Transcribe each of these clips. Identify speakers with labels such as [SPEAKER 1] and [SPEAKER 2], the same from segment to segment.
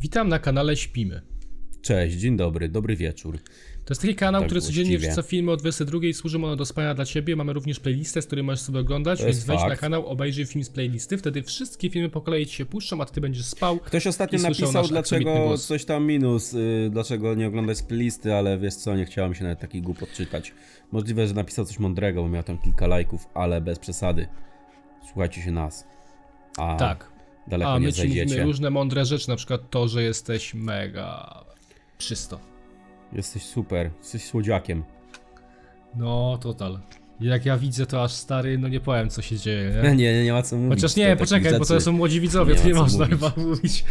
[SPEAKER 1] Witam na kanale Śpimy.
[SPEAKER 2] Cześć, dzień dobry, dobry wieczór.
[SPEAKER 1] To jest taki kanał,
[SPEAKER 2] Tak
[SPEAKER 1] który codziennie
[SPEAKER 2] właściwie.
[SPEAKER 1] wrzuca filmy o 22 i służą one do spania dla ciebie. Mamy również playlistę, z której możesz sobie oglądać,
[SPEAKER 2] To
[SPEAKER 1] więc
[SPEAKER 2] jest
[SPEAKER 1] wejdź na
[SPEAKER 2] fakt.
[SPEAKER 1] kanał, obejrzyj film z playlisty, wtedy wszystkie filmy po kolei ci się puszczą, a ty będziesz spał.
[SPEAKER 2] Ktoś ostatnio
[SPEAKER 1] I słyszał
[SPEAKER 2] napisał,
[SPEAKER 1] nasz aksamitny
[SPEAKER 2] dlaczego
[SPEAKER 1] głos.
[SPEAKER 2] coś tam minus, y, dlaczego nie oglądać playlisty, ale wiesz co, nie chciałem się nawet takich głupot czytać. Możliwe, że napisał coś mądrego, bo miał tam kilka lajków, ale bez przesady. Słuchajcie się nas. A
[SPEAKER 1] Tak.
[SPEAKER 2] daleko
[SPEAKER 1] A
[SPEAKER 2] nie
[SPEAKER 1] my ci mówimy
[SPEAKER 2] zajdziecie.
[SPEAKER 1] różne mądre rzeczy, na przykład to, że jesteś mega czysto.
[SPEAKER 2] Jesteś super, jesteś słodziakiem.
[SPEAKER 1] No, total. Jak ja widzę, to aż stary, no nie powiem, co się dzieje. nie?
[SPEAKER 2] Nie, nie, nie ma co mówić.
[SPEAKER 1] Chociaż
[SPEAKER 2] to
[SPEAKER 1] nie,
[SPEAKER 2] takich
[SPEAKER 1] poczekaj, bo to
[SPEAKER 2] rzeczy.
[SPEAKER 1] są młodzi widzowie,
[SPEAKER 2] Nie
[SPEAKER 1] to nie
[SPEAKER 2] ma co
[SPEAKER 1] można
[SPEAKER 2] mówić.
[SPEAKER 1] chyba mówić.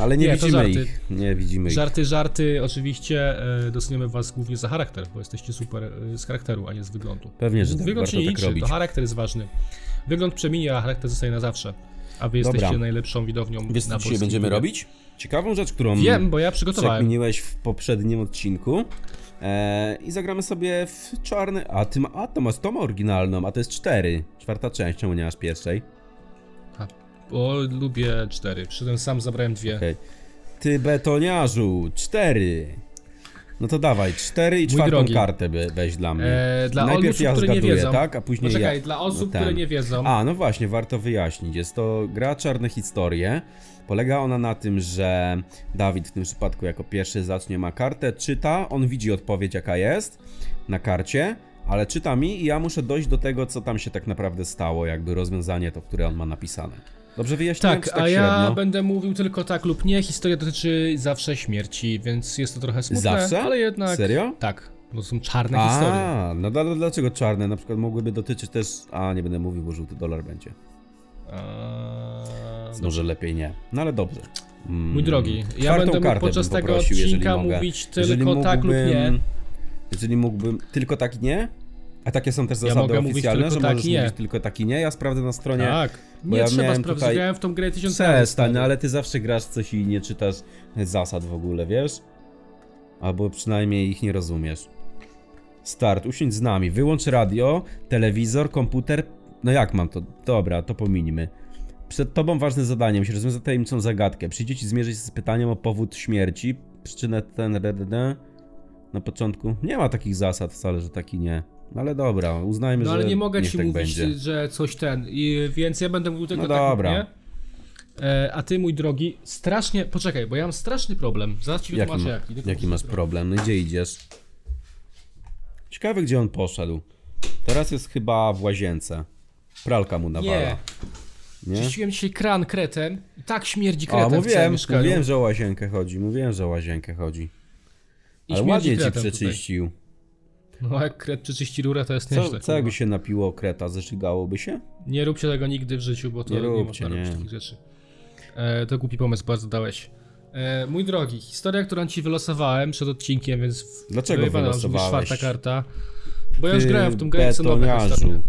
[SPEAKER 2] Ale nie,
[SPEAKER 1] Nie, to
[SPEAKER 2] widzimy
[SPEAKER 1] żarty.
[SPEAKER 2] ich. Nie widzimy ich.
[SPEAKER 1] Żarty, żarty, oczywiście e, doceniamy was głównie za charakter, bo jesteście super e, z charakteru, a nie z wyglądu.
[SPEAKER 2] Pewnie, że tak,
[SPEAKER 1] Wygląd się
[SPEAKER 2] warto
[SPEAKER 1] nie
[SPEAKER 2] tak
[SPEAKER 1] liczy,
[SPEAKER 2] robić.
[SPEAKER 1] to charakter jest ważny. Wygląd przeminie, a charakter zostaje na zawsze. A wy
[SPEAKER 2] Dobra.
[SPEAKER 1] jesteście najlepszą widownią
[SPEAKER 2] Wiesz
[SPEAKER 1] na
[SPEAKER 2] co dzisiaj
[SPEAKER 1] polskim
[SPEAKER 2] będziemy
[SPEAKER 1] YouTubie.
[SPEAKER 2] robić? Mm. Ciekawą rzecz, którą...
[SPEAKER 1] Wiem, bo ja przygotowałem.
[SPEAKER 2] Przekminiłeś w poprzednim odcinku. E, I zagramy sobie w czarny. A ty ma, a to masz tą oryginalną, a to jest cztery. Czwarta część, czemu nie masz pierwszej?
[SPEAKER 1] A, Bo lubię cztery, przyszedłem sam, zabrałem dwie.
[SPEAKER 2] Okej. Ty betoniarzu, cztery. No to dawaj, cztery i czwartą
[SPEAKER 1] drogi.
[SPEAKER 2] kartę be, weź dla mnie.
[SPEAKER 1] E, dla
[SPEAKER 2] Najpierw
[SPEAKER 1] osób,
[SPEAKER 2] ja
[SPEAKER 1] które nie
[SPEAKER 2] zgaduję,
[SPEAKER 1] wiedzą.
[SPEAKER 2] tak? A później
[SPEAKER 1] Poczekaj,
[SPEAKER 2] ja.
[SPEAKER 1] dla osób,
[SPEAKER 2] ten.
[SPEAKER 1] które nie wiedzą.
[SPEAKER 2] A, no właśnie, warto wyjaśnić. Jest to gra Czarne Historie. Polega ona na tym, że Dawid w tym przypadku jako pierwszy zacznie, ma kartę, czyta, on widzi odpowiedź jaka jest na karcie, ale czyta mi i ja muszę dojść do tego, co tam się tak naprawdę stało, jakby rozwiązanie to, które on ma napisane. Dobrze wyjaśniłem,
[SPEAKER 1] Tak,
[SPEAKER 2] czy
[SPEAKER 1] a ja
[SPEAKER 2] średnio?
[SPEAKER 1] będę mówił tylko tak lub nie. Historia dotyczy zawsze śmierci, więc jest to trochę smutne,
[SPEAKER 2] Zawsze?
[SPEAKER 1] ale jednak...
[SPEAKER 2] Serio?
[SPEAKER 1] Tak, bo są czarne historie.
[SPEAKER 2] A, no dla- dlaczego czarne? Na przykład mogłyby dotyczyć też... A, nie będę mówił, bo żółty dolar będzie.
[SPEAKER 1] Eee,
[SPEAKER 2] Może lepiej nie. No ale dobrze. Mm.
[SPEAKER 1] Mój drogi, ja
[SPEAKER 2] Czwartą
[SPEAKER 1] będę mógł
[SPEAKER 2] kartę
[SPEAKER 1] podczas
[SPEAKER 2] bym
[SPEAKER 1] tego
[SPEAKER 2] poprosił, jeżeli
[SPEAKER 1] odcinka
[SPEAKER 2] mogę.
[SPEAKER 1] mówić
[SPEAKER 2] Jeżeli
[SPEAKER 1] tylko tak lub nie.
[SPEAKER 2] Jeżeli mógłbym tylko tak i nie? A takie są też
[SPEAKER 1] Ja
[SPEAKER 2] zasady
[SPEAKER 1] mogę mówić
[SPEAKER 2] oficjalne,
[SPEAKER 1] tylko
[SPEAKER 2] że
[SPEAKER 1] tak
[SPEAKER 2] możesz
[SPEAKER 1] i nie.
[SPEAKER 2] mówić tylko tak i nie. Ja sprawdzę na stronie.
[SPEAKER 1] tak.
[SPEAKER 2] bo
[SPEAKER 1] Nie
[SPEAKER 2] ja
[SPEAKER 1] trzeba
[SPEAKER 2] miałem
[SPEAKER 1] sprawdzić,
[SPEAKER 2] tutaj-
[SPEAKER 1] grałem w tą grę tysiąc razy.
[SPEAKER 2] Przestań, no ale ty zawsze grasz w coś i nie czytasz zasad w ogóle, wiesz? Albo przynajmniej ich nie rozumiesz. Start, usiądź z nami, wyłącz radio, telewizor, komputer. No jak mam to? Dobra, to pominimy. Przed tobą ważne zadanie, musisz rozwiązać tajemniczą zagadkę. Przyjdzie ci zmierzyć się z pytaniem o powód śmierci, przyczynę ten RDD. Na początku nie ma takich zasad wcale, że taki nie. No Ale dobra, uznajmy,
[SPEAKER 1] No ale
[SPEAKER 2] że
[SPEAKER 1] nie mogę
[SPEAKER 2] niech
[SPEAKER 1] ci
[SPEAKER 2] tak
[SPEAKER 1] mówić,
[SPEAKER 2] będzie.
[SPEAKER 1] że coś ten, i, więc ja będę mówił tylko
[SPEAKER 2] No
[SPEAKER 1] tak
[SPEAKER 2] dobra.
[SPEAKER 1] lub nie. E, a ty, mój drogi, strasznie... Poczekaj, bo ja mam straszny problem. Zaraz ci
[SPEAKER 2] Jaki,
[SPEAKER 1] wytłumaczę
[SPEAKER 2] ma,
[SPEAKER 1] jaki. Tylko
[SPEAKER 2] jaki
[SPEAKER 1] muszę
[SPEAKER 2] masz
[SPEAKER 1] sprawdzić.
[SPEAKER 2] problem? No gdzie idziesz? Ciekawe, gdzie on poszedł. Teraz jest chyba w łazience. Pralka mu nawala.
[SPEAKER 1] Nie,
[SPEAKER 2] Nie?
[SPEAKER 1] czyściłem dzisiaj kran kretem i tak śmierdzi
[SPEAKER 2] A,
[SPEAKER 1] kretem w całym
[SPEAKER 2] mówiłem,
[SPEAKER 1] mieszkaniu.
[SPEAKER 2] mówiłem, że o łazienkę chodzi. Mówiłem, że o łazienkę chodzi.
[SPEAKER 1] I
[SPEAKER 2] Ale
[SPEAKER 1] śmierdzi
[SPEAKER 2] ładnie ci
[SPEAKER 1] kretem tutaj.
[SPEAKER 2] przeczyścił.
[SPEAKER 1] No jak kret przeczyści rurę, to jest
[SPEAKER 2] Co,
[SPEAKER 1] nieźle.
[SPEAKER 2] co
[SPEAKER 1] tak chyba.
[SPEAKER 2] jakby się napiło kreta? Zeszygałoby się?
[SPEAKER 1] Nie róbcie tego nigdy w życiu, bo to nie,
[SPEAKER 2] Nie róbcie,
[SPEAKER 1] można robić
[SPEAKER 2] nie.
[SPEAKER 1] takich rzeczy. E, to głupi pomysł, bardzo dałeś. E, mój drogi, historia, którą ci wylosowałem przed odcinkiem, więc... w-
[SPEAKER 2] Dlaczego
[SPEAKER 1] wyjebana już
[SPEAKER 2] wylosowałeś?
[SPEAKER 1] mi czwarta karta. Bo ja już
[SPEAKER 2] Ty
[SPEAKER 1] grałem w tą grę, co nowe
[SPEAKER 2] betoniarzu.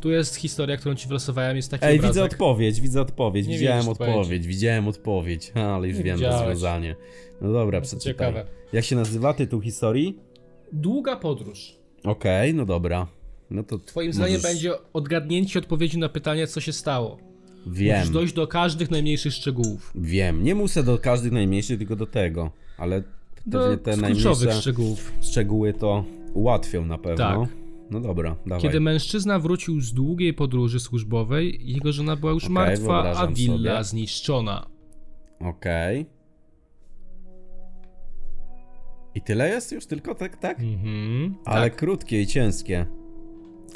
[SPEAKER 1] Tu jest historia, którą ci wylosowałem, jest taki
[SPEAKER 2] Ej,
[SPEAKER 1] obrazek.
[SPEAKER 2] widzę odpowiedź, widzę odpowiedź.
[SPEAKER 1] Nie
[SPEAKER 2] widziałem
[SPEAKER 1] widzisz
[SPEAKER 2] odpowiedź,
[SPEAKER 1] odpowiedzi.
[SPEAKER 2] widziałem odpowiedź. Ha, Ale już
[SPEAKER 1] Nie
[SPEAKER 2] wiem
[SPEAKER 1] widziałeś.
[SPEAKER 2] rozwiązanie. No dobra, przeczytaj.
[SPEAKER 1] ciekawe.
[SPEAKER 2] Jak się nazywa tytuł historii?
[SPEAKER 1] Długa podróż.
[SPEAKER 2] Okej, no dobra. No to
[SPEAKER 1] Twoim zdaniem
[SPEAKER 2] możesz-
[SPEAKER 1] będzie odgadnięcie odpowiedzi na pytanie, co się stało. Musisz
[SPEAKER 2] Wiem,
[SPEAKER 1] dojść do każdych najmniejszych szczegółów.
[SPEAKER 2] wiem. Nie muszę do każdych najmniejszych, tylko do tego. Ale
[SPEAKER 1] Do
[SPEAKER 2] pewnie te
[SPEAKER 1] No, kluczowych
[SPEAKER 2] najmniejsze
[SPEAKER 1] szczegółów.
[SPEAKER 2] szczegóły to ułatwią na pewno.
[SPEAKER 1] Tak.
[SPEAKER 2] No dobra, dawaj.
[SPEAKER 1] Kiedy mężczyzna wrócił z długiej podróży służbowej, jego żona była już
[SPEAKER 2] Okej,
[SPEAKER 1] martwa, a
[SPEAKER 2] wyobrażam
[SPEAKER 1] willa
[SPEAKER 2] sobie.
[SPEAKER 1] zniszczona.
[SPEAKER 2] Okej. I tyle jest już tylko tak, tak?
[SPEAKER 1] Mhm.
[SPEAKER 2] Ale
[SPEAKER 1] tak.
[SPEAKER 2] krótkie i cięskie.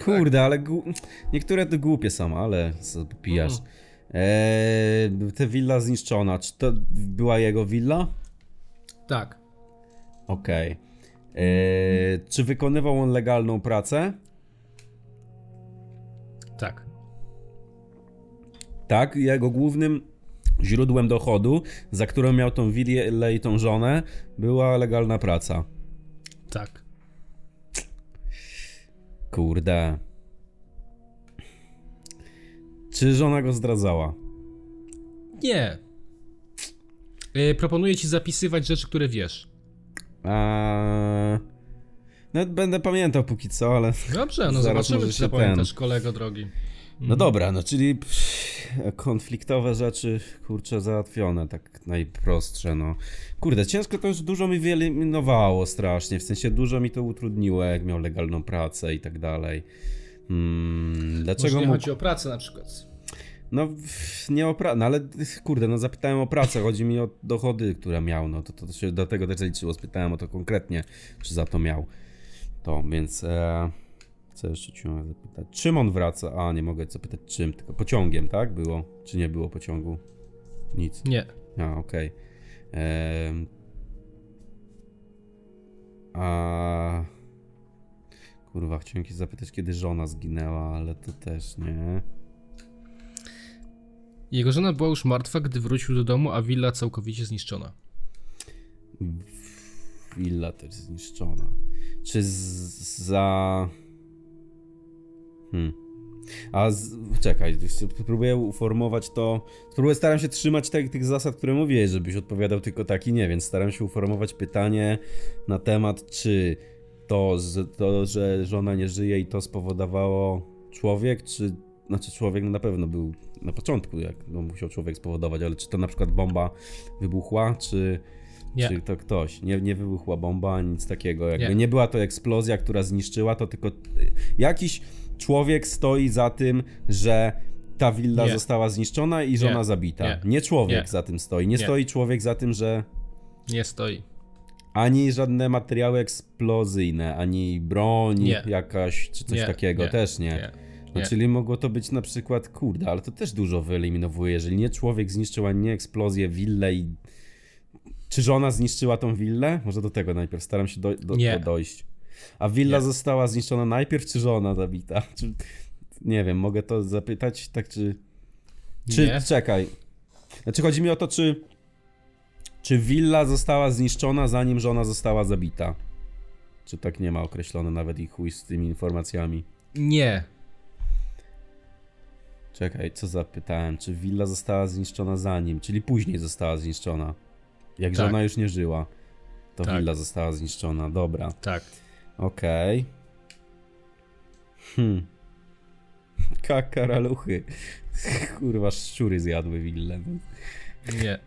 [SPEAKER 2] Kurde, ale gł- niektóre to głupie są, ale co ty pijasz.
[SPEAKER 1] Mhm.
[SPEAKER 2] Eee, te willa zniszczona. Czy to była jego willa?
[SPEAKER 1] tak.
[SPEAKER 2] Okej. Eee, czy wykonywał on legalną pracę?
[SPEAKER 1] Tak.
[SPEAKER 2] Tak, jego głównym źródłem dochodu, za którą miał tą willę i tą żonę, była legalna praca.
[SPEAKER 1] Tak.
[SPEAKER 2] Kurde. Czy żona go zdradzała?
[SPEAKER 1] Nie. E, proponuję ci zapisywać rzeczy, które wiesz.
[SPEAKER 2] Eee, Nawet będę pamiętał póki co, ale...
[SPEAKER 1] Dobrze, no
[SPEAKER 2] Zaraz
[SPEAKER 1] zobaczymy,
[SPEAKER 2] może
[SPEAKER 1] czy
[SPEAKER 2] się
[SPEAKER 1] zapamiętasz,
[SPEAKER 2] ten-
[SPEAKER 1] kolego drogi. Mhm.
[SPEAKER 2] No dobra, no czyli pff, konfliktowe rzeczy, kurczę, załatwione, tak najprostsze, no. Kurde, ciężko to już dużo mi wyeliminowało strasznie, w sensie dużo mi to utrudniło, jak miał legalną pracę i tak dalej. Mm,
[SPEAKER 1] Może
[SPEAKER 2] dlaczego
[SPEAKER 1] nie
[SPEAKER 2] mógł...
[SPEAKER 1] chodzi o pracę na przykład.
[SPEAKER 2] No, w- nie o pracę, no ale kurde, no zapytałem o pracę, chodzi mi o dochody, które miał, no to, to, to się do tego też liczyło, spytałem o to konkretnie, czy za to miał. To, więc e, co jeszcze ci mogę zapytać? Czym on wraca? A, nie mogę zapytać czym, tylko pociągiem, tak? Było, czy nie było pociągu? Nic.
[SPEAKER 1] Nie.
[SPEAKER 2] A, okej. Em, A... Kurwa, chciałem się zapytać, kiedy żona zginęła, ale to też nie.
[SPEAKER 1] Jego żona była już martwa, gdy wrócił do domu, a willa całkowicie zniszczona.
[SPEAKER 2] Willa też zniszczona. Czy z, za. Hmm. A z, czekaj, jeszcze próbuję uformować to. Spróbuję, staram się trzymać tych, tych zasad, które mówiłeś, żebyś odpowiadał tylko tak i nie, więc staram się uformować pytanie na temat, czy to, że, to, że żona nie żyje i to spowodowało człowiek, czy. Znaczy, człowiek no na pewno był na początku, jak no, musiał człowiek spowodować, ale czy to na przykład bomba wybuchła, czy.
[SPEAKER 1] Nie.
[SPEAKER 2] Czy to ktoś. Nie, nie wybuchła bomba, ani nic takiego. Jakby
[SPEAKER 1] Nie.
[SPEAKER 2] nie. była to eksplozja, która zniszczyła, to tylko y, jakiś człowiek stoi za tym, że ta willa
[SPEAKER 1] Nie.
[SPEAKER 2] została zniszczona i żona
[SPEAKER 1] Nie.
[SPEAKER 2] zabita.
[SPEAKER 1] Nie.
[SPEAKER 2] Nie, człowiek
[SPEAKER 1] Nie.
[SPEAKER 2] za tym stoi. Nie,
[SPEAKER 1] Nie.
[SPEAKER 2] stoi człowiek za tym, że
[SPEAKER 1] Nie stoi.
[SPEAKER 2] ani żadne materiały eksplozyjne, ani broń
[SPEAKER 1] Nie.
[SPEAKER 2] jakaś, czy coś
[SPEAKER 1] Nie,
[SPEAKER 2] takiego.
[SPEAKER 1] nie,
[SPEAKER 2] Też nie.
[SPEAKER 1] Nie.
[SPEAKER 2] No,
[SPEAKER 1] nie.
[SPEAKER 2] czyli mogło to być na przykład, kurde, ale to też dużo wyeliminowuje, jeżeli nie człowiek zniszczył, ani nie eksplozję, willę i... Czy żona zniszczyła tą willę? Może do tego najpierw, staram się do, do,
[SPEAKER 1] Nie.
[SPEAKER 2] do dojść. A willa
[SPEAKER 1] Nie.
[SPEAKER 2] została zniszczona najpierw, czy żona zabita? Czy, nie wiem, mogę to zapytać, tak czy... Czy,
[SPEAKER 1] Nie.
[SPEAKER 2] czekaj. Znaczy chodzi mi o to, czy... Czy willa została zniszczona, zanim żona została zabita? Czy tak nie ma określone nawet i chuj z tymi informacjami?
[SPEAKER 1] nie.
[SPEAKER 2] Czekaj, co zapytałem? Czy willa została zniszczona za nim? Czyli później została zniszczona. Jak
[SPEAKER 1] Tak.
[SPEAKER 2] żona już nie żyła, to
[SPEAKER 1] Tak.
[SPEAKER 2] willa została zniszczona. Dobra,
[SPEAKER 1] Tak.
[SPEAKER 2] okej. Hmm. Kakaraluchy. Kurwa, szczury zjadły willę.
[SPEAKER 1] Nie.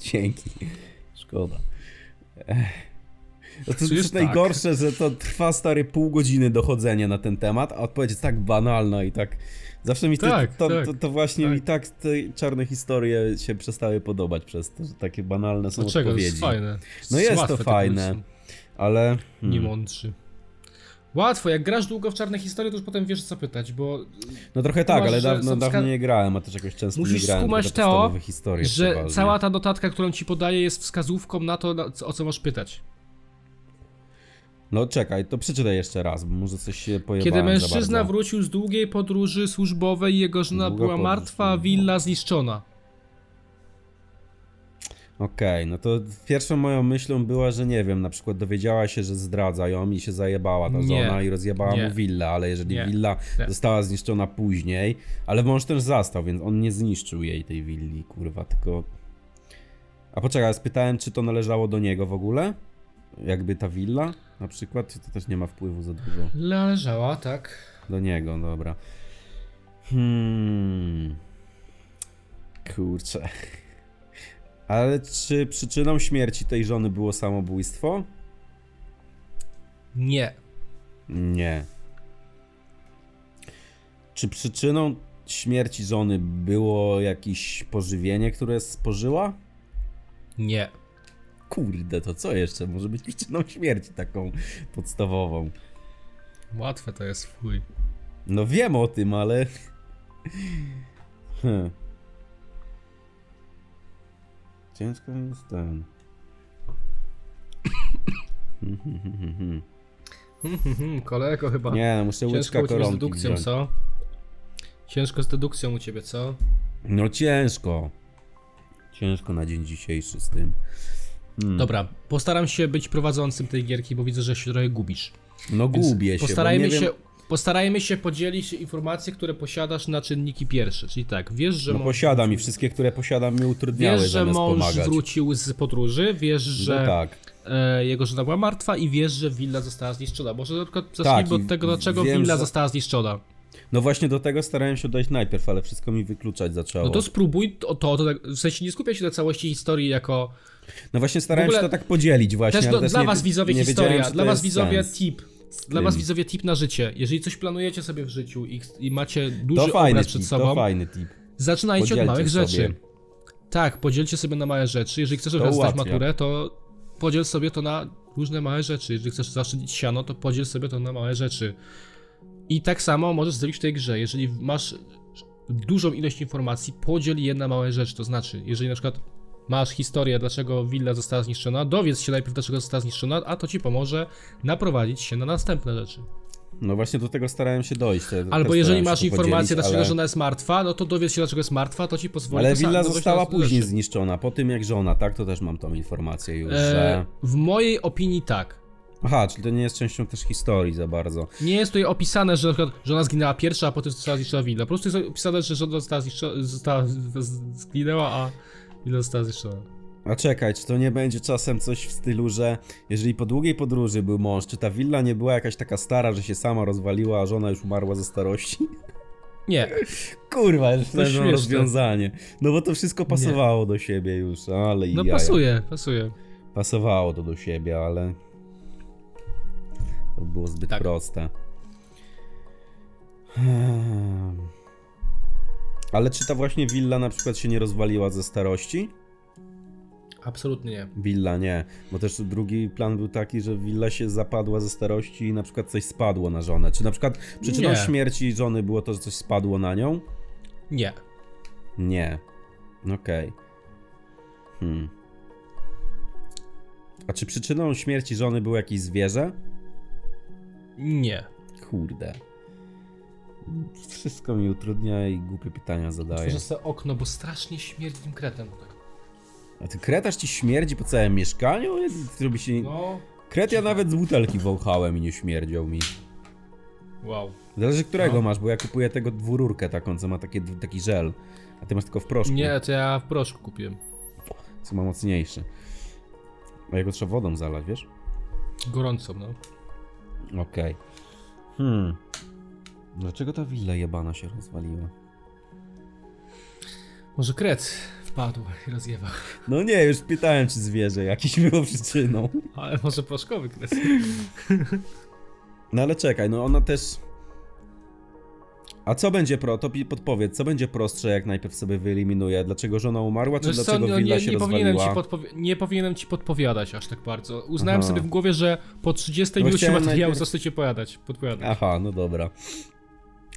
[SPEAKER 2] Dzięki. Szkoda. Ech. No to
[SPEAKER 1] Czy
[SPEAKER 2] jest
[SPEAKER 1] jest tak?
[SPEAKER 2] najgorsze, że to trwa stary pół godziny dochodzenia na ten temat, a odpowiedź jest tak banalna i tak. Zawsze mi te,
[SPEAKER 1] Tak,
[SPEAKER 2] to,
[SPEAKER 1] tak,
[SPEAKER 2] to, to właśnie
[SPEAKER 1] tak.
[SPEAKER 2] mi tak te czarne historie się przestały podobać przez to, że takie banalne są
[SPEAKER 1] Dlaczego? To
[SPEAKER 2] odpowiedzi.
[SPEAKER 1] jest fajne.
[SPEAKER 2] No jest
[SPEAKER 1] Łatwe
[SPEAKER 2] to
[SPEAKER 1] te
[SPEAKER 2] fajne.
[SPEAKER 1] kulisy.
[SPEAKER 2] Ale.
[SPEAKER 1] Nie
[SPEAKER 2] Hmm.
[SPEAKER 1] mądrzy. Łatwo, jak grasz długo w czarne historie, to już potem wiesz co pytać, bo
[SPEAKER 2] No trochę tak,
[SPEAKER 1] Kumasz,
[SPEAKER 2] ale
[SPEAKER 1] że
[SPEAKER 2] dawno,
[SPEAKER 1] są wska-
[SPEAKER 2] dawno nie grałem, a też jakoś często
[SPEAKER 1] Musisz
[SPEAKER 2] nie grałem. tylko
[SPEAKER 1] skumać
[SPEAKER 2] te
[SPEAKER 1] to,
[SPEAKER 2] podstawowe historie
[SPEAKER 1] że
[SPEAKER 2] przeważnie.
[SPEAKER 1] cała ta notatka, którą ci podaję jest wskazówką na to, na, co- o co masz pytać.
[SPEAKER 2] No czekaj, to przeczytaj jeszcze raz, bo może coś się pojawia.
[SPEAKER 1] Kiedy mężczyzna wrócił z długiej podróży służbowej, jego żona
[SPEAKER 2] Długa
[SPEAKER 1] była
[SPEAKER 2] podróż no.
[SPEAKER 1] martwa,
[SPEAKER 2] służbowa.
[SPEAKER 1] willa zniszczona.
[SPEAKER 2] Okej, no to pierwszą moją myślą była, że nie wiem, na przykład dowiedziała się, że zdradza ją i się zajebała ta
[SPEAKER 1] Nie.
[SPEAKER 2] żona i rozjebała
[SPEAKER 1] Nie.
[SPEAKER 2] mu willę, ale jeżeli
[SPEAKER 1] Nie.
[SPEAKER 2] willa
[SPEAKER 1] Nie.
[SPEAKER 2] została zniszczona później, ale mąż też zastał, więc on nie zniszczył jej tej willi, kurwa, tylko... A poczekaj, spytałem, czy to należało do niego w ogóle? Jakby ta willa na przykład, czy to też nie ma wpływu za dużo?
[SPEAKER 1] Leżała, tak.
[SPEAKER 2] Do niego, dobra. Hmm. Kurczę. Ale czy przyczyną śmierci tej żony było samobójstwo?
[SPEAKER 1] Nie.
[SPEAKER 2] Nie. Czy przyczyną śmierci żony było jakieś pożywienie, które spożyła?
[SPEAKER 1] Nie.
[SPEAKER 2] Kurde, to co jeszcze może być przyczyną śmierci taką podstawową?
[SPEAKER 1] Łatwe to jest, fuj.
[SPEAKER 2] No wiem o tym, ale. Hmm. Ciężko mi jest ten.
[SPEAKER 1] Hmm, hmm, hmm, Kolego chyba.
[SPEAKER 2] Nie, no muszę
[SPEAKER 1] Ciężko
[SPEAKER 2] łyczka
[SPEAKER 1] u ciebie z
[SPEAKER 2] koronki
[SPEAKER 1] dedukcją,
[SPEAKER 2] wziąć.
[SPEAKER 1] co? Ciężko z dedukcją u ciebie, co?
[SPEAKER 2] No ciężko. Ciężko na dzień dzisiejszy z tym. Hmm.
[SPEAKER 1] Dobra, postaram się być prowadzącym tej gierki, bo widzę, że się trochę gubisz.
[SPEAKER 2] No
[SPEAKER 1] Więc
[SPEAKER 2] gubię się. bo
[SPEAKER 1] Postarajmy
[SPEAKER 2] nie wiem-
[SPEAKER 1] się, postarajmy się podzielić informacje, które posiadasz na czynniki pierwsze. Czyli tak, wiesz, że
[SPEAKER 2] No
[SPEAKER 1] mąż,
[SPEAKER 2] posiadam i wszystkie, które posiadam mi utrudniały
[SPEAKER 1] wiesz, że
[SPEAKER 2] zamiast
[SPEAKER 1] mąż
[SPEAKER 2] pomagać.
[SPEAKER 1] wrócił z podróży, wiesz, że
[SPEAKER 2] No tak.
[SPEAKER 1] e, jego żona była martwa i wiesz, że willa została zniszczona. Może na przykład
[SPEAKER 2] Tak,
[SPEAKER 1] zacznijmy
[SPEAKER 2] i
[SPEAKER 1] od tego, dlaczego
[SPEAKER 2] wiem,
[SPEAKER 1] willa
[SPEAKER 2] że-
[SPEAKER 1] została zniszczona.
[SPEAKER 2] No właśnie do tego starałem się dojść najpierw, ale wszystko mi wykluczać zaczęło.
[SPEAKER 1] No to spróbuj to, to, to tak- w sensie nie skupia się na całości historii jako...
[SPEAKER 2] No właśnie starałem
[SPEAKER 1] W ogóle-
[SPEAKER 2] się to tak podzielić właśnie.
[SPEAKER 1] Też,
[SPEAKER 2] ale
[SPEAKER 1] do, dla
[SPEAKER 2] nie-
[SPEAKER 1] was widzowie
[SPEAKER 2] nie wiedziałem,
[SPEAKER 1] historia,
[SPEAKER 2] czy to
[SPEAKER 1] dla was
[SPEAKER 2] jest
[SPEAKER 1] widzowie
[SPEAKER 2] sens.
[SPEAKER 1] tip. Dla was
[SPEAKER 2] tym.
[SPEAKER 1] widzowie tip na życie. Jeżeli coś planujecie sobie w życiu i, i macie
[SPEAKER 2] To
[SPEAKER 1] duży
[SPEAKER 2] fajny
[SPEAKER 1] obraz
[SPEAKER 2] tip,
[SPEAKER 1] przed
[SPEAKER 2] to
[SPEAKER 1] sobą,
[SPEAKER 2] fajny tip.
[SPEAKER 1] zaczynajcie od
[SPEAKER 2] Podzielcie
[SPEAKER 1] małych
[SPEAKER 2] sobie.
[SPEAKER 1] rzeczy. Tak, podzielcie sobie na małe rzeczy. Jeżeli chcesz
[SPEAKER 2] To
[SPEAKER 1] raz zdać
[SPEAKER 2] ułatwia.
[SPEAKER 1] maturę, to podziel sobie to na różne małe rzeczy. Jeżeli chcesz zaszczycić siano, to podziel sobie to na małe rzeczy. I tak samo możesz zrobić w tej grze. Jeżeli masz dużą ilość informacji, podziel je na małe rzeczy. To znaczy, jeżeli na przykład masz historię, dlaczego willa została zniszczona, dowiedz się najpierw, dlaczego została zniszczona, a to ci pomoże naprowadzić się na następne rzeczy.
[SPEAKER 2] No właśnie do tego starałem się dojść. te- No, też
[SPEAKER 1] Albo
[SPEAKER 2] starałem
[SPEAKER 1] jeżeli
[SPEAKER 2] się
[SPEAKER 1] masz
[SPEAKER 2] to
[SPEAKER 1] informację,
[SPEAKER 2] podzielić,
[SPEAKER 1] dlaczego
[SPEAKER 2] ale...
[SPEAKER 1] żona jest martwa, no to dowiedz się, dlaczego jest martwa, to ci pozwoli...
[SPEAKER 2] Ale
[SPEAKER 1] to sam-
[SPEAKER 2] willa
[SPEAKER 1] dowieść
[SPEAKER 2] została
[SPEAKER 1] następne
[SPEAKER 2] później
[SPEAKER 1] rzeczy.
[SPEAKER 2] zniszczona, po tym jak żona, tak? To też mam tą informację już,
[SPEAKER 1] E,
[SPEAKER 2] że...
[SPEAKER 1] w mojej opinii tak.
[SPEAKER 2] Aha, czyli to nie jest częścią też historii za bardzo.
[SPEAKER 1] Nie jest tutaj opisane, że na przykład żona zginęła pierwsza, a potem została zniszczona willa. Po prostu jest opisane, że żona została zniszczona, została, z- zginęła, a willa została zniszczona.
[SPEAKER 2] A czekaj, czy to nie będzie czasem coś w stylu, że jeżeli po długiej podróży był mąż, czy ta willa nie była jakaś taka stara, że się sama rozwaliła, a żona już umarła ze starości?
[SPEAKER 1] Nie,
[SPEAKER 2] Kurwa, już to
[SPEAKER 1] śmieszne.
[SPEAKER 2] rozwiązanie. No bo to wszystko pasowało do siebie już, ale i
[SPEAKER 1] no
[SPEAKER 2] jaja.
[SPEAKER 1] pasuje, pasuje.
[SPEAKER 2] Pasowało to do siebie, ale to było zbyt
[SPEAKER 1] Tak.
[SPEAKER 2] proste. Hmm. Ale czy ta właśnie willa na przykład się nie rozwaliła ze starości?
[SPEAKER 1] Absolutnie nie.
[SPEAKER 2] Willa nie, bo też drugi plan był taki, że willa się zapadła ze starości i na przykład coś spadło na żonę. Czy na przykład przyczyną
[SPEAKER 1] Nie.
[SPEAKER 2] śmierci żony było to, że coś spadło na nią?
[SPEAKER 1] Nie.
[SPEAKER 2] Nie. Okej. Hmm. A czy przyczyną śmierci żony było jakieś zwierzę?
[SPEAKER 1] Nie.
[SPEAKER 2] Kurde. Wszystko mi utrudnia i głupie pytania zadaje.
[SPEAKER 1] Otworzę sobie okno, bo strasznie śmierdzi tym kretem. Tak.
[SPEAKER 2] A ty kretasz ci śmierdzi po całym mieszkaniu? Jezu, Robi się...
[SPEAKER 1] No,
[SPEAKER 2] Kret ja nawet z butelki wąchałem i nie śmierdział mi. No.
[SPEAKER 1] wow.
[SPEAKER 2] Zależy którego
[SPEAKER 1] No.
[SPEAKER 2] masz, bo ja kupuję tego dwururkę taką, co ma takie, taki żel. A ty masz tylko w proszku.
[SPEAKER 1] Nie, to ja w proszku kupiłem.
[SPEAKER 2] Co ma mocniejszy. A jego trzeba wodą zalać, wiesz?
[SPEAKER 1] Gorąco, no.
[SPEAKER 2] Okej. Hmm. Dlaczego ta willa jebana się rozwaliła?
[SPEAKER 1] Może kret wpadł i rozjebał.
[SPEAKER 2] No nie, już pytałem, czy zwierzę jakieś było przyczyną.
[SPEAKER 1] Ale może proszkowy kret.
[SPEAKER 2] No ale czekaj, no ona też... A co będzie pro? To pi- podpowiedz, co będzie prostsze, jak najpierw sobie wyeliminuje? Dlaczego żona umarła, czy
[SPEAKER 1] Wiesz co,
[SPEAKER 2] dlaczego
[SPEAKER 1] no
[SPEAKER 2] willa
[SPEAKER 1] nie,
[SPEAKER 2] się
[SPEAKER 1] nie, powinienem
[SPEAKER 2] rozwaliła?
[SPEAKER 1] ci podpowi- nie powinienem ci podpowiadać aż tak bardzo. Uznałem
[SPEAKER 2] Aha.
[SPEAKER 1] sobie w głowie, że po 30
[SPEAKER 2] Bo
[SPEAKER 1] minucie
[SPEAKER 2] chciałem
[SPEAKER 1] materiału
[SPEAKER 2] najpierw-
[SPEAKER 1] zacznę cię powiadać, podpowiadać.
[SPEAKER 2] Aha, no dobra.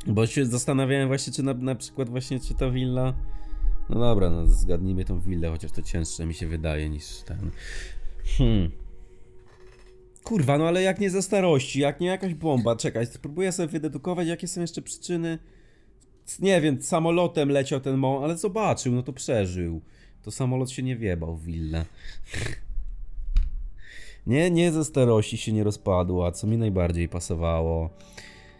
[SPEAKER 2] Bo się zastanawiałem właśnie, czy na, na przykład właśnie, czy ta willa... No dobra, no zgadnijmy tą willę, chociaż to cięższe mi się wydaje niż ten... Hmm. Kurwa, no ale jak nie za starości, jak nie jakaś bomba, czekaj, spróbuję sobie wydedukować, jakie są jeszcze przyczyny... C- Nie wiem, samolotem leciał ten mąż, ale zobaczył, no to przeżył. To samolot się nie wiebał w willę. Nie, nie ze starości się nie rozpadła, co mi najbardziej pasowało.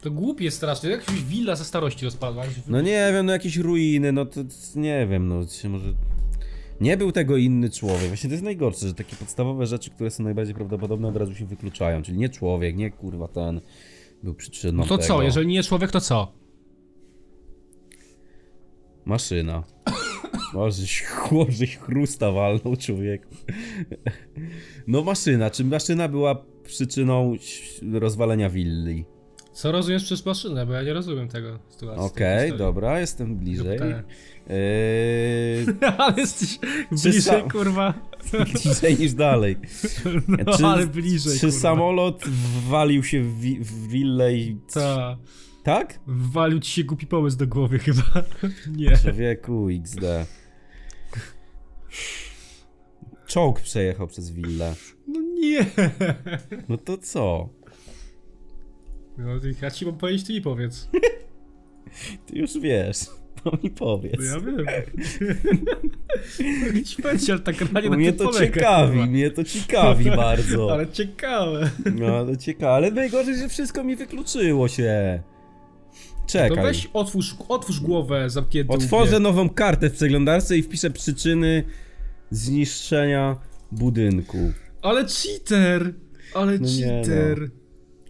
[SPEAKER 1] To głupie strasznie, jak się willa ze starości rozpadła. jak się-
[SPEAKER 2] No nie wiem, no jakieś ruiny, no to to nie wiem, no czy może... Nie był tego inny człowiek. Właśnie to jest najgorsze, że takie podstawowe rzeczy, które są najbardziej prawdopodobne od razu się wykluczają. Czyli nie człowiek, nie kurwa ten był przyczyną
[SPEAKER 1] No to
[SPEAKER 2] tego.
[SPEAKER 1] co, jeżeli nie człowiek, to co?
[SPEAKER 2] Maszyna. Możeś, chłożeś chrusta walnął człowieku. No maszyna, czy maszyna była przyczyną ś- rozwalenia willi?
[SPEAKER 1] Co rozumiesz przez maszynę, bo ja nie rozumiem tego sytuacji.
[SPEAKER 2] Okej,
[SPEAKER 1] tej historii.
[SPEAKER 2] dobra, jestem bliżej.
[SPEAKER 1] Zapytałem.
[SPEAKER 2] Yy,
[SPEAKER 1] ale jesteś
[SPEAKER 2] sam-
[SPEAKER 1] bliżej, kurwa.
[SPEAKER 2] bliżej niż dalej.
[SPEAKER 1] No ale bliżej,
[SPEAKER 2] Czy
[SPEAKER 1] kurwa.
[SPEAKER 2] samolot walił się w, wi- w willę i...
[SPEAKER 1] Ta,
[SPEAKER 2] Tak?
[SPEAKER 1] walił ci się głupi pomysł do głowy chyba. Nie.
[SPEAKER 2] Człowieku, XD. Czołg przejechał przez willę.
[SPEAKER 1] No nie.
[SPEAKER 2] No to co?
[SPEAKER 1] No, ja ci mam powiedzieć, ty mi powiedz.
[SPEAKER 2] Ty już wiesz. To mi
[SPEAKER 1] No
[SPEAKER 2] powiedz.
[SPEAKER 1] ja wiem. Mogę ci powiedzieć, ale tak ranie
[SPEAKER 2] Bo
[SPEAKER 1] na
[SPEAKER 2] mnie
[SPEAKER 1] tym
[SPEAKER 2] to
[SPEAKER 1] polega,
[SPEAKER 2] ciekawi, no.
[SPEAKER 1] kurwa.
[SPEAKER 2] mnie to ciekawi bardzo.
[SPEAKER 1] Ale ciekawe.
[SPEAKER 2] No to ciekawe, ale najgorzej, że wszystko mi wykluczyło się.
[SPEAKER 1] No To
[SPEAKER 2] Czekaj.
[SPEAKER 1] weź otwórz, otwórz głowę zamkniętą.
[SPEAKER 2] Otworzę nową kartę w przeglądarce i wpiszę przyczyny zniszczenia budynku.
[SPEAKER 1] Ale cheater! Ale
[SPEAKER 2] No nie,
[SPEAKER 1] cheater!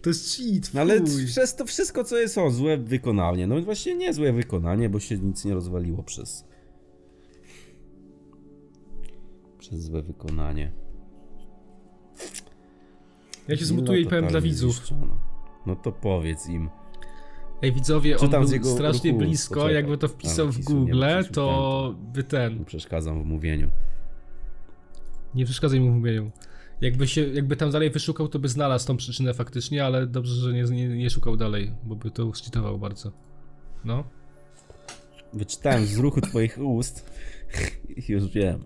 [SPEAKER 1] To jest cheat,
[SPEAKER 2] No ale
[SPEAKER 1] fuj.
[SPEAKER 2] przez to wszystko, co jest, o, złe wykonanie. No i właśnie nie złe wykonanie, bo się nic nie rozwaliło przez... Przez złe wykonanie.
[SPEAKER 1] Ja się
[SPEAKER 2] Willa
[SPEAKER 1] zmutuję i powiem dla
[SPEAKER 2] no, totalnie
[SPEAKER 1] widzów.
[SPEAKER 2] zniszczona. No to powiedz im.
[SPEAKER 1] Ej widzowie, on
[SPEAKER 2] Czytam z
[SPEAKER 1] był
[SPEAKER 2] jego
[SPEAKER 1] strasznie
[SPEAKER 2] ruchu
[SPEAKER 1] blisko,
[SPEAKER 2] spoczeka.
[SPEAKER 1] jakby to wpisał
[SPEAKER 2] Ale
[SPEAKER 1] w
[SPEAKER 2] wpisu nie
[SPEAKER 1] Google,
[SPEAKER 2] przeczytałem.
[SPEAKER 1] to by ten,
[SPEAKER 2] Nie przeszkadzam w mówieniu.
[SPEAKER 1] nie przeszkadzaj mu w mówieniu. Jakby, się, jakby tam dalej wyszukał, to by znalazł tą przyczynę faktycznie, ale dobrze, że nie, nie, nie szukał dalej, bo by to szczytował bardzo. No.
[SPEAKER 2] Wyczytałem z ruchu twoich ust. Już wiem.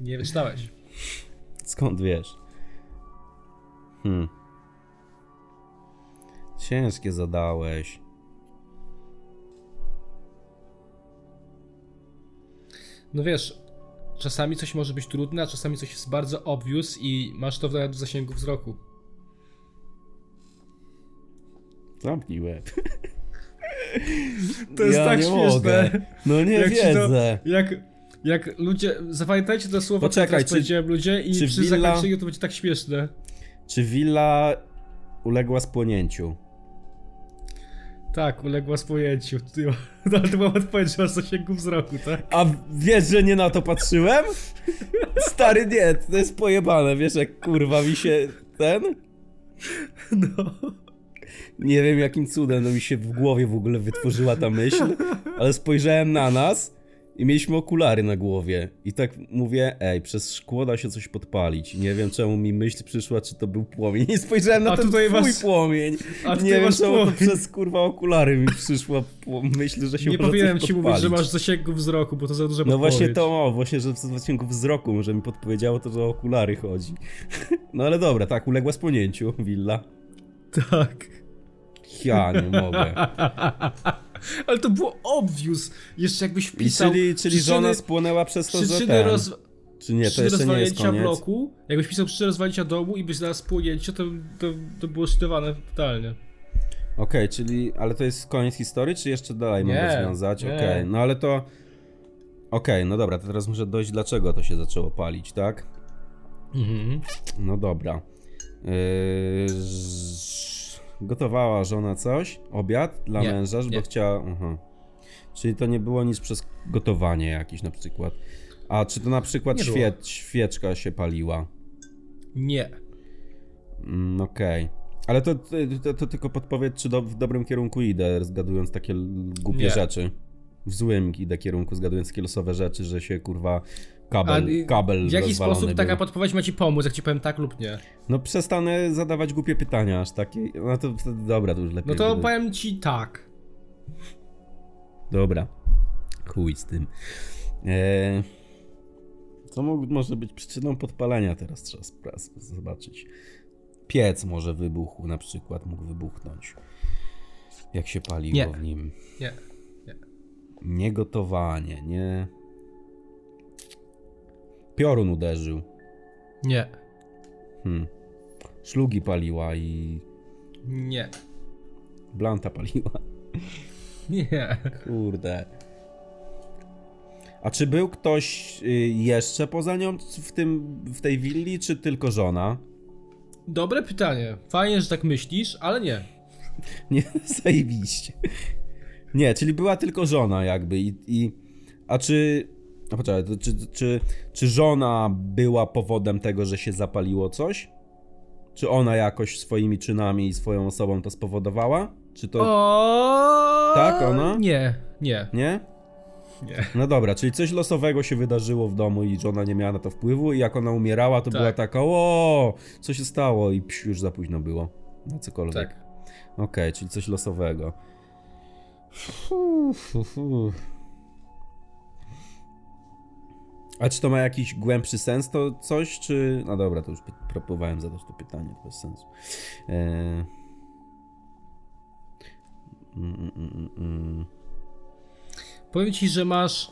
[SPEAKER 1] Nie wyczytałeś.
[SPEAKER 2] Skąd wiesz? Hmm. Ciężkie zadałeś.
[SPEAKER 1] No wiesz, czasami coś może być trudne, a czasami coś jest bardzo obvious i masz to nawet w zasięgu wzroku.
[SPEAKER 2] Zamknij łeb.
[SPEAKER 1] To jest tak
[SPEAKER 2] nie
[SPEAKER 1] śmieszne.
[SPEAKER 2] mogę. No nie
[SPEAKER 1] Jak ci to-
[SPEAKER 2] wiedzę.
[SPEAKER 1] Jak, jak ludzie, zapamiętajcie te słowa,
[SPEAKER 2] Poczekaj,
[SPEAKER 1] które teraz
[SPEAKER 2] czy-
[SPEAKER 1] powiedziałem ludzie i
[SPEAKER 2] czy
[SPEAKER 1] przy
[SPEAKER 2] Willa-
[SPEAKER 1] zakończeniu to będzie tak śmieszne.
[SPEAKER 2] Czy willa uległa spłonięciu?
[SPEAKER 1] Tak, uległa spojęciu. Ty- No, ale to była odpowiedź, że masz zasięgu wzroku, tak?
[SPEAKER 2] A wiesz, że nie na to patrzyłem? Stary, nie, to jest pojebane, wiesz, jak kurwa mi się ten...
[SPEAKER 1] No.
[SPEAKER 2] Nie wiem jakim cudem no mi się w głowie w ogóle wytworzyła ta myśl, ale spojrzałem na nas i mieliśmy okulary na głowie. I tak mówię, ej, przez szkło da się coś podpalić. Nie wiem czemu mi myśl przyszła, czy to był płomień. I spojrzałem na
[SPEAKER 1] A
[SPEAKER 2] ten twój
[SPEAKER 1] tutaj was-
[SPEAKER 2] płomień.
[SPEAKER 1] a tutaj
[SPEAKER 2] nie wiem
[SPEAKER 1] masz
[SPEAKER 2] czemu
[SPEAKER 1] płomień.
[SPEAKER 2] to przez kurwa okulary mi przyszła pło- myśl, że się
[SPEAKER 1] Nie
[SPEAKER 2] może
[SPEAKER 1] powinienem
[SPEAKER 2] coś
[SPEAKER 1] ci mówić,
[SPEAKER 2] podpalić.
[SPEAKER 1] że masz zasięgu wzroku, bo to za dużo
[SPEAKER 2] No właśnie to, o, właśnie, że w zasięgu wzroku może mi podpowiedziało to, że o okulary chodzi. No ale dobra, tak, uległa spłonięciu, Willa.
[SPEAKER 1] Tak.
[SPEAKER 2] Ja nie mogę.
[SPEAKER 1] Ale to było obvious. Jeszcze jakbyś
[SPEAKER 2] I
[SPEAKER 1] wpisał
[SPEAKER 2] czyli, czyli
[SPEAKER 1] przyczyny,
[SPEAKER 2] żona spłonęła przez to, że
[SPEAKER 1] przyczyny,
[SPEAKER 2] ten,
[SPEAKER 1] roz...
[SPEAKER 2] Czy nie, to
[SPEAKER 1] przyczyny
[SPEAKER 2] jeszcze nie jest
[SPEAKER 1] rozwalnięcia
[SPEAKER 2] koniec.
[SPEAKER 1] bloku. Jakbyś pisał przyczyny rozwalnięcia domu i byś znalazł pojęcie, to, to, to było szczytowane totalnie.
[SPEAKER 2] Okej, czyli, ale to jest koniec historii, czy jeszcze dalej mam
[SPEAKER 1] Nie,
[SPEAKER 2] rozwiązać?
[SPEAKER 1] nie.
[SPEAKER 2] Okej, no ale to... Okej, no dobra, to teraz muszę dojść, dlaczego to się zaczęło palić, tak?
[SPEAKER 1] Mhm.
[SPEAKER 2] No dobra. Yy, ż- Gotowała żona coś? Obiad dla
[SPEAKER 1] Nie,
[SPEAKER 2] męża, bo
[SPEAKER 1] nie.
[SPEAKER 2] chciała... Aha. Czyli to nie było nic przez gotowanie jakieś na przykład. A czy to na przykład
[SPEAKER 1] Nie było.
[SPEAKER 2] świe... świeczka się paliła?
[SPEAKER 1] Nie.
[SPEAKER 2] Mm, Okej. Ale to, to, to, to tylko podpowiedz, czy do, w dobrym kierunku idę, zgadując takie l- głupie
[SPEAKER 1] Nie.
[SPEAKER 2] rzeczy. W złym idę kierunku, zgadując takie losowe rzeczy, że się kurwa
[SPEAKER 1] A,
[SPEAKER 2] kabel,
[SPEAKER 1] i-
[SPEAKER 2] kabel
[SPEAKER 1] W jaki
[SPEAKER 2] rozwalony
[SPEAKER 1] sposób
[SPEAKER 2] był.
[SPEAKER 1] taka podpowiedź ma ci pomóc, jak ci powiem tak lub nie?
[SPEAKER 2] No przestanę zadawać głupie pytania aż takie. No to wtedy dobra, to już lepiej.
[SPEAKER 1] No to
[SPEAKER 2] wtedy.
[SPEAKER 1] powiem ci tak.
[SPEAKER 2] Dobra. Chuj z tym. Eee, co mo- może być przyczyną podpalenia teraz? Trzeba spra- zobaczyć. Piec może wybuchł, na przykład mógł wybuchnąć. Jak się paliło
[SPEAKER 1] Nie.
[SPEAKER 2] w nim.
[SPEAKER 1] Nie.
[SPEAKER 2] Nie gotowanie, nie. Piorun uderzył.
[SPEAKER 1] Nie.
[SPEAKER 2] Hmm. Szlugi paliła i
[SPEAKER 1] Nie.
[SPEAKER 2] blanta paliła.
[SPEAKER 1] Nie.
[SPEAKER 2] Kurde. A czy był ktoś y, jeszcze poza nią w, tym, w tej willi, czy tylko żona?
[SPEAKER 1] Dobre pytanie. Fajnie, że tak myślisz, ale nie.
[SPEAKER 2] Nie, zajebiście. Nie, czyli była tylko żona jakby i... i a czy... A poczekaj, to czy, czy, czy żona była powodem tego, że się zapaliło coś? Czy ona jakoś swoimi czynami i swoją osobą to spowodowała? Czy to...
[SPEAKER 1] O...
[SPEAKER 2] Tak, ona?
[SPEAKER 1] Nie, nie,
[SPEAKER 2] Nie?
[SPEAKER 1] nie.
[SPEAKER 2] No dobra, czyli coś losowego się wydarzyło w domu i żona nie miała na to wpływu i jak ona umierała, to
[SPEAKER 1] Tak.
[SPEAKER 2] była taka o, co się stało i psz, już za późno było. Na cokolwiek.
[SPEAKER 1] Tak.
[SPEAKER 2] Okej, czyli coś losowego. Fu, fu, fu. A czy to ma jakiś głębszy sens to coś, czy... No dobra, to już py- próbowałem zadać to pytanie, to bez sensu. E... Mm, mm, mm, mm.
[SPEAKER 1] Powiem ci, że masz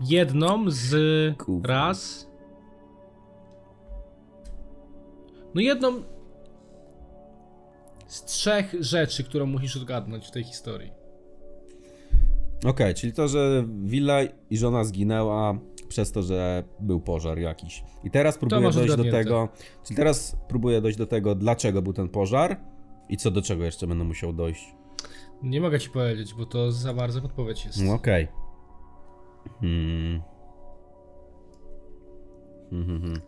[SPEAKER 1] jedną z
[SPEAKER 2] Gówno.
[SPEAKER 1] raz. No jedną z trzech rzeczy, którą musisz odgadnąć w tej historii.
[SPEAKER 2] Okej, czyli to, że Willa i żona zginęła, przez to, że był pożar jakiś. I teraz próbuję
[SPEAKER 1] masz
[SPEAKER 2] dojść do
[SPEAKER 1] odgadnięte.
[SPEAKER 2] tego, czyli teraz próbuję dojść do tego, dlaczego był ten pożar i co do czego jeszcze będę musiał dojść.
[SPEAKER 1] Nie mogę ci powiedzieć, bo to za bardzo podpowiedź jest.
[SPEAKER 2] No okej. Hmm. Hmm, hmm, hmm.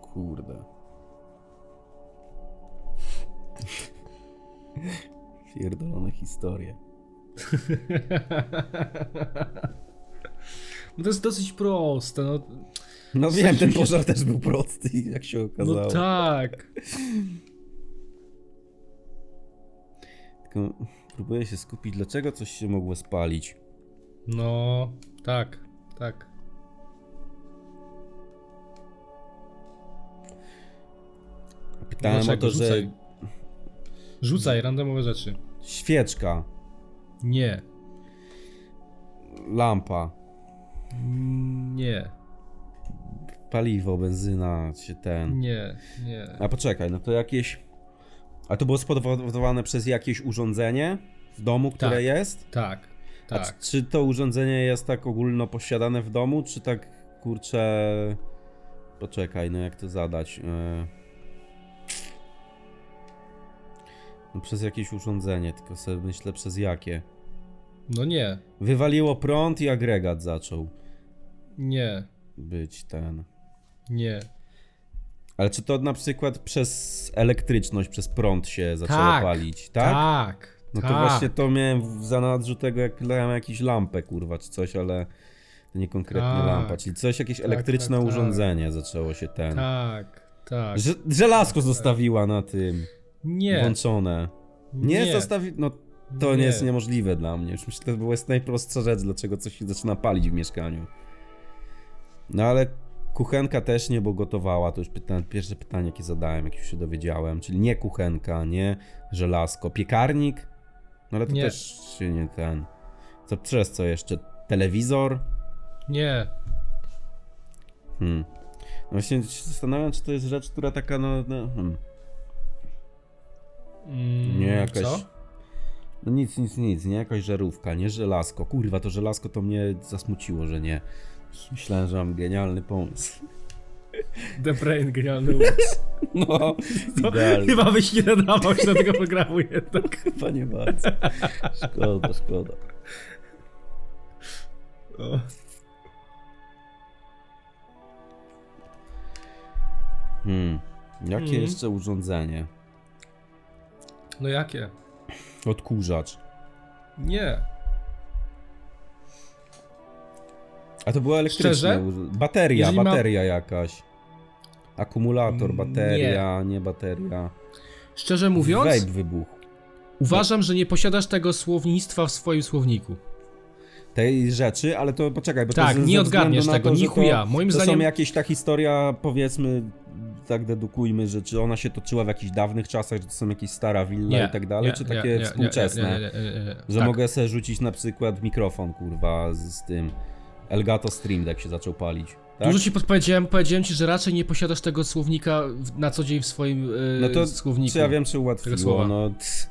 [SPEAKER 2] Kurde. Pierdolone historie.
[SPEAKER 1] No to jest dosyć proste, no,
[SPEAKER 2] No wiem, ten pożar też był prosty, jak się okazało.
[SPEAKER 1] no tak.
[SPEAKER 2] Tylko próbuję się skupić, dlaczego coś się mogło spalić.
[SPEAKER 1] No, tak, tak.
[SPEAKER 2] Pytałem
[SPEAKER 1] Dlaczego?
[SPEAKER 2] o to, że
[SPEAKER 1] Rzucaj. Rzucaj randomowe rzeczy.
[SPEAKER 2] świeczka,
[SPEAKER 1] Nie,
[SPEAKER 2] lampa,
[SPEAKER 1] nie,
[SPEAKER 2] paliwo, benzyna, czy ten.
[SPEAKER 1] nie, nie.
[SPEAKER 2] A poczekaj, no to jakieś. A to było spowodowane przez jakieś urządzenie w domu, które
[SPEAKER 1] Tak.
[SPEAKER 2] jest?
[SPEAKER 1] Tak,
[SPEAKER 2] A
[SPEAKER 1] tak.
[SPEAKER 2] c- czy to urządzenie jest tak ogólno posiadane w domu, czy tak kurczę. Poczekaj, no jak to zadać? Yy. No przez jakieś urządzenie, tylko sobie myślę przez jakie.
[SPEAKER 1] No nie,
[SPEAKER 2] Wywaliło prąd i agregat zaczął
[SPEAKER 1] nie,
[SPEAKER 2] być ten.
[SPEAKER 1] nie.
[SPEAKER 2] Ale czy to na przykład przez elektryczność, przez prąd się zaczęło
[SPEAKER 1] Tak,
[SPEAKER 2] palić, tak?
[SPEAKER 1] Tak,
[SPEAKER 2] No to
[SPEAKER 1] tak.
[SPEAKER 2] właśnie to miałem w zanadrzu tego, jak miałem jakąś lampę, kurwa, czy coś, ale to nie konkretnie
[SPEAKER 1] Tak.
[SPEAKER 2] lampa, czyli coś, jakieś
[SPEAKER 1] Tak,
[SPEAKER 2] elektryczne
[SPEAKER 1] tak, tak.
[SPEAKER 2] urządzenie zaczęło się ten.
[SPEAKER 1] Tak, tak.
[SPEAKER 2] Że, żelazko zostawiła na tym,
[SPEAKER 1] Nie,
[SPEAKER 2] włączone. Nie,
[SPEAKER 1] nie,
[SPEAKER 2] zostawi... No to nie.
[SPEAKER 1] Nie.
[SPEAKER 2] jest niemożliwe dla mnie. Już myślę, to jest najprostsza rzecz, dlaczego coś się zaczyna palić w mieszkaniu. No ale kuchenka też nie, bo gotowała. To już pyta... pierwsze pytanie, jakie zadałem, jak już się dowiedziałem. Czyli nie kuchenka, nie żelazko. Piekarnik? No ale to
[SPEAKER 1] Nie.
[SPEAKER 2] też się nie ten... Co przez co jeszcze? Telewizor?
[SPEAKER 1] nie.
[SPEAKER 2] Hmm. No właśnie się zastanawiam, czy to jest rzecz, która taka no... no hmm.
[SPEAKER 1] Mm,
[SPEAKER 2] Nie jakaś.
[SPEAKER 1] Co?
[SPEAKER 2] No nic, nic, nic, nie jakaś żarówka, nie żelazko. Kurwa, to żelazko to mnie zasmuciło, że nie. Myślałem, że mam genialny pomysł.
[SPEAKER 1] The Brain, genialny umysł.
[SPEAKER 2] No,
[SPEAKER 1] To
[SPEAKER 2] idealnie.
[SPEAKER 1] Chyba byś nie nadawał się do tego programu jednak.
[SPEAKER 2] Chyba nie bardzo. Szkoda, szkoda.
[SPEAKER 1] O.
[SPEAKER 2] Hmm. Jakie
[SPEAKER 1] Mhm.
[SPEAKER 2] jeszcze urządzenie?
[SPEAKER 1] No jakie?
[SPEAKER 2] Odkurzacz.
[SPEAKER 1] Nie.
[SPEAKER 2] A to była elektryczna.
[SPEAKER 1] Szczerze?
[SPEAKER 2] ur- Bateria,
[SPEAKER 1] Jeżeli ma-
[SPEAKER 2] bateria jakaś. Akumulator,
[SPEAKER 1] Mm,
[SPEAKER 2] bateria, nie, bateria.
[SPEAKER 1] Szczerze mówiąc,
[SPEAKER 2] Vape wybuchł.
[SPEAKER 1] uważam, że nie posiadasz tego słownictwa w swoim słowniku.
[SPEAKER 2] tej rzeczy, ale to poczekaj, bo
[SPEAKER 1] Tak,
[SPEAKER 2] to z-
[SPEAKER 1] nie
[SPEAKER 2] ze
[SPEAKER 1] odgadniesz
[SPEAKER 2] względu na
[SPEAKER 1] tego,
[SPEAKER 2] to, że
[SPEAKER 1] ni chuja.
[SPEAKER 2] To,
[SPEAKER 1] Moim
[SPEAKER 2] to
[SPEAKER 1] zdaniem-
[SPEAKER 2] są jakieś ta historia, powiedzmy, tak dedukujmy, że czy ona się toczyła w jakichś dawnych czasach, że to są jakieś stara willa i tak dalej, czy takie współczesne. Że
[SPEAKER 1] tak.
[SPEAKER 2] mogę sobie rzucić na przykład mikrofon, kurwa, z, z tym Elgato Stream Deck się zaczął palić. Tak?
[SPEAKER 1] Dużo ci podpowiedziałem, powiedziałem ci, że raczej nie posiadasz tego słownika w- na co dzień w swoim e,
[SPEAKER 2] No to
[SPEAKER 1] słowniku.
[SPEAKER 2] Czy ja wiem, czy
[SPEAKER 1] Tego
[SPEAKER 2] ułatwiło,
[SPEAKER 1] słowa.
[SPEAKER 2] no, tch.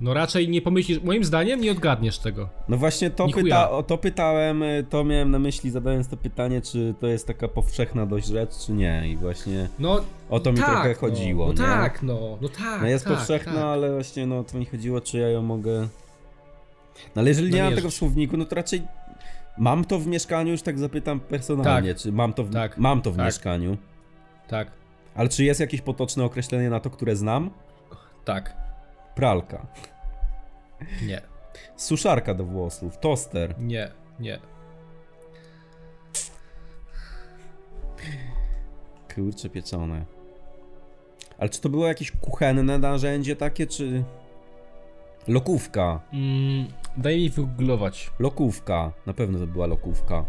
[SPEAKER 1] No raczej nie pomyślisz, moim zdaniem nie odgadniesz tego.
[SPEAKER 2] no właśnie to,
[SPEAKER 1] Ni chuja.
[SPEAKER 2] pyta, o to pytałem, y, to miałem na myśli zadając to pytanie, czy to jest taka powszechna dość rzecz, czy nie i właśnie
[SPEAKER 1] No
[SPEAKER 2] o to mi
[SPEAKER 1] tak,
[SPEAKER 2] trochę
[SPEAKER 1] no,
[SPEAKER 2] chodziło,
[SPEAKER 1] No
[SPEAKER 2] nie?
[SPEAKER 1] tak, no, no tak.
[SPEAKER 2] No jest
[SPEAKER 1] tak,
[SPEAKER 2] powszechna,
[SPEAKER 1] tak.
[SPEAKER 2] ale właśnie no to mi chodziło, czy ja ją mogę. No ale jeżeli
[SPEAKER 1] No
[SPEAKER 2] nie mam
[SPEAKER 1] wiesz.
[SPEAKER 2] tego w słowniku, no to raczej mam to w mieszkaniu, już tak zapytam personalnie, czy mam to w,
[SPEAKER 1] Tak.
[SPEAKER 2] mam to w
[SPEAKER 1] Tak.
[SPEAKER 2] mieszkaniu.
[SPEAKER 1] Tak,
[SPEAKER 2] Ale czy jest jakieś potoczne określenie na to, które znam?
[SPEAKER 1] tak.
[SPEAKER 2] Pralka,
[SPEAKER 1] Nie,
[SPEAKER 2] suszarka do włosów, toster.
[SPEAKER 1] nie, nie.
[SPEAKER 2] Kurcze pieczone. Ale czy to było jakieś kuchenne narzędzie takie, czy lokówka?
[SPEAKER 1] Mm, daj mi wygooglować.
[SPEAKER 2] Lokówka. Na pewno to była lokówka.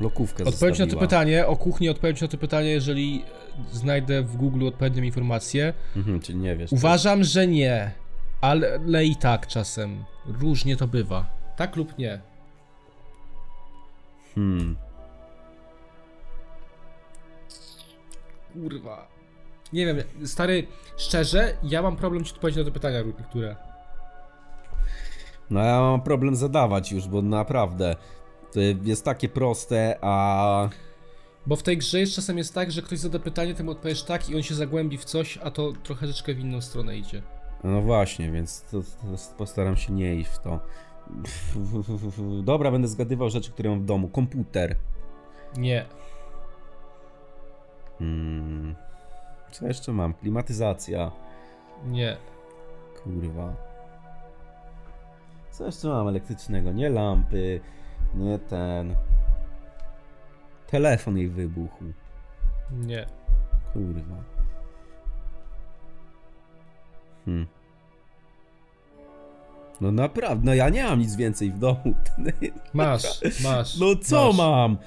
[SPEAKER 2] Lokówkę
[SPEAKER 1] Odpowiedź na to
[SPEAKER 2] zostawiła.
[SPEAKER 1] pytanie, o kuchni odpowiedź na to pytanie, jeżeli e, znajdę w Google odpowiednią informację.
[SPEAKER 2] Mhm, czyli nie wiesz.
[SPEAKER 1] Uważam, że nie, ale, ale i tak czasem. Różnie to bywa. Tak lub nie.
[SPEAKER 2] Hmm.
[SPEAKER 1] Kurwa. Nie wiem, stary, szczerze, ja mam problem ci odpowiedzieć na te pytania, niektóre.
[SPEAKER 2] No ja mam problem zadawać już, bo naprawdę to jest takie proste, a
[SPEAKER 1] Bo w tej grze jest czasem jest tak, że ktoś zada pytanie, ty mu odpowiesz tak i on się zagłębi w coś, a to troszeczkę w inną stronę idzie.
[SPEAKER 2] no właśnie, więc to, to postaram się nie iść w to. Dobra, będę zgadywał rzeczy, które mam w domu. Komputer.
[SPEAKER 1] Nie.
[SPEAKER 2] Hmm. Co jeszcze mam? Klimatyzacja.
[SPEAKER 1] Nie.
[SPEAKER 2] Kurwa. Co jeszcze mam elektrycznego? Nie lampy, nie ten. Telefon jej wybuchł.
[SPEAKER 1] Nie.
[SPEAKER 2] Kurwa. Hmm. No naprawdę, no ja nie mam nic więcej w domu.
[SPEAKER 1] Masz, masz.
[SPEAKER 2] No co
[SPEAKER 1] masz.
[SPEAKER 2] mam?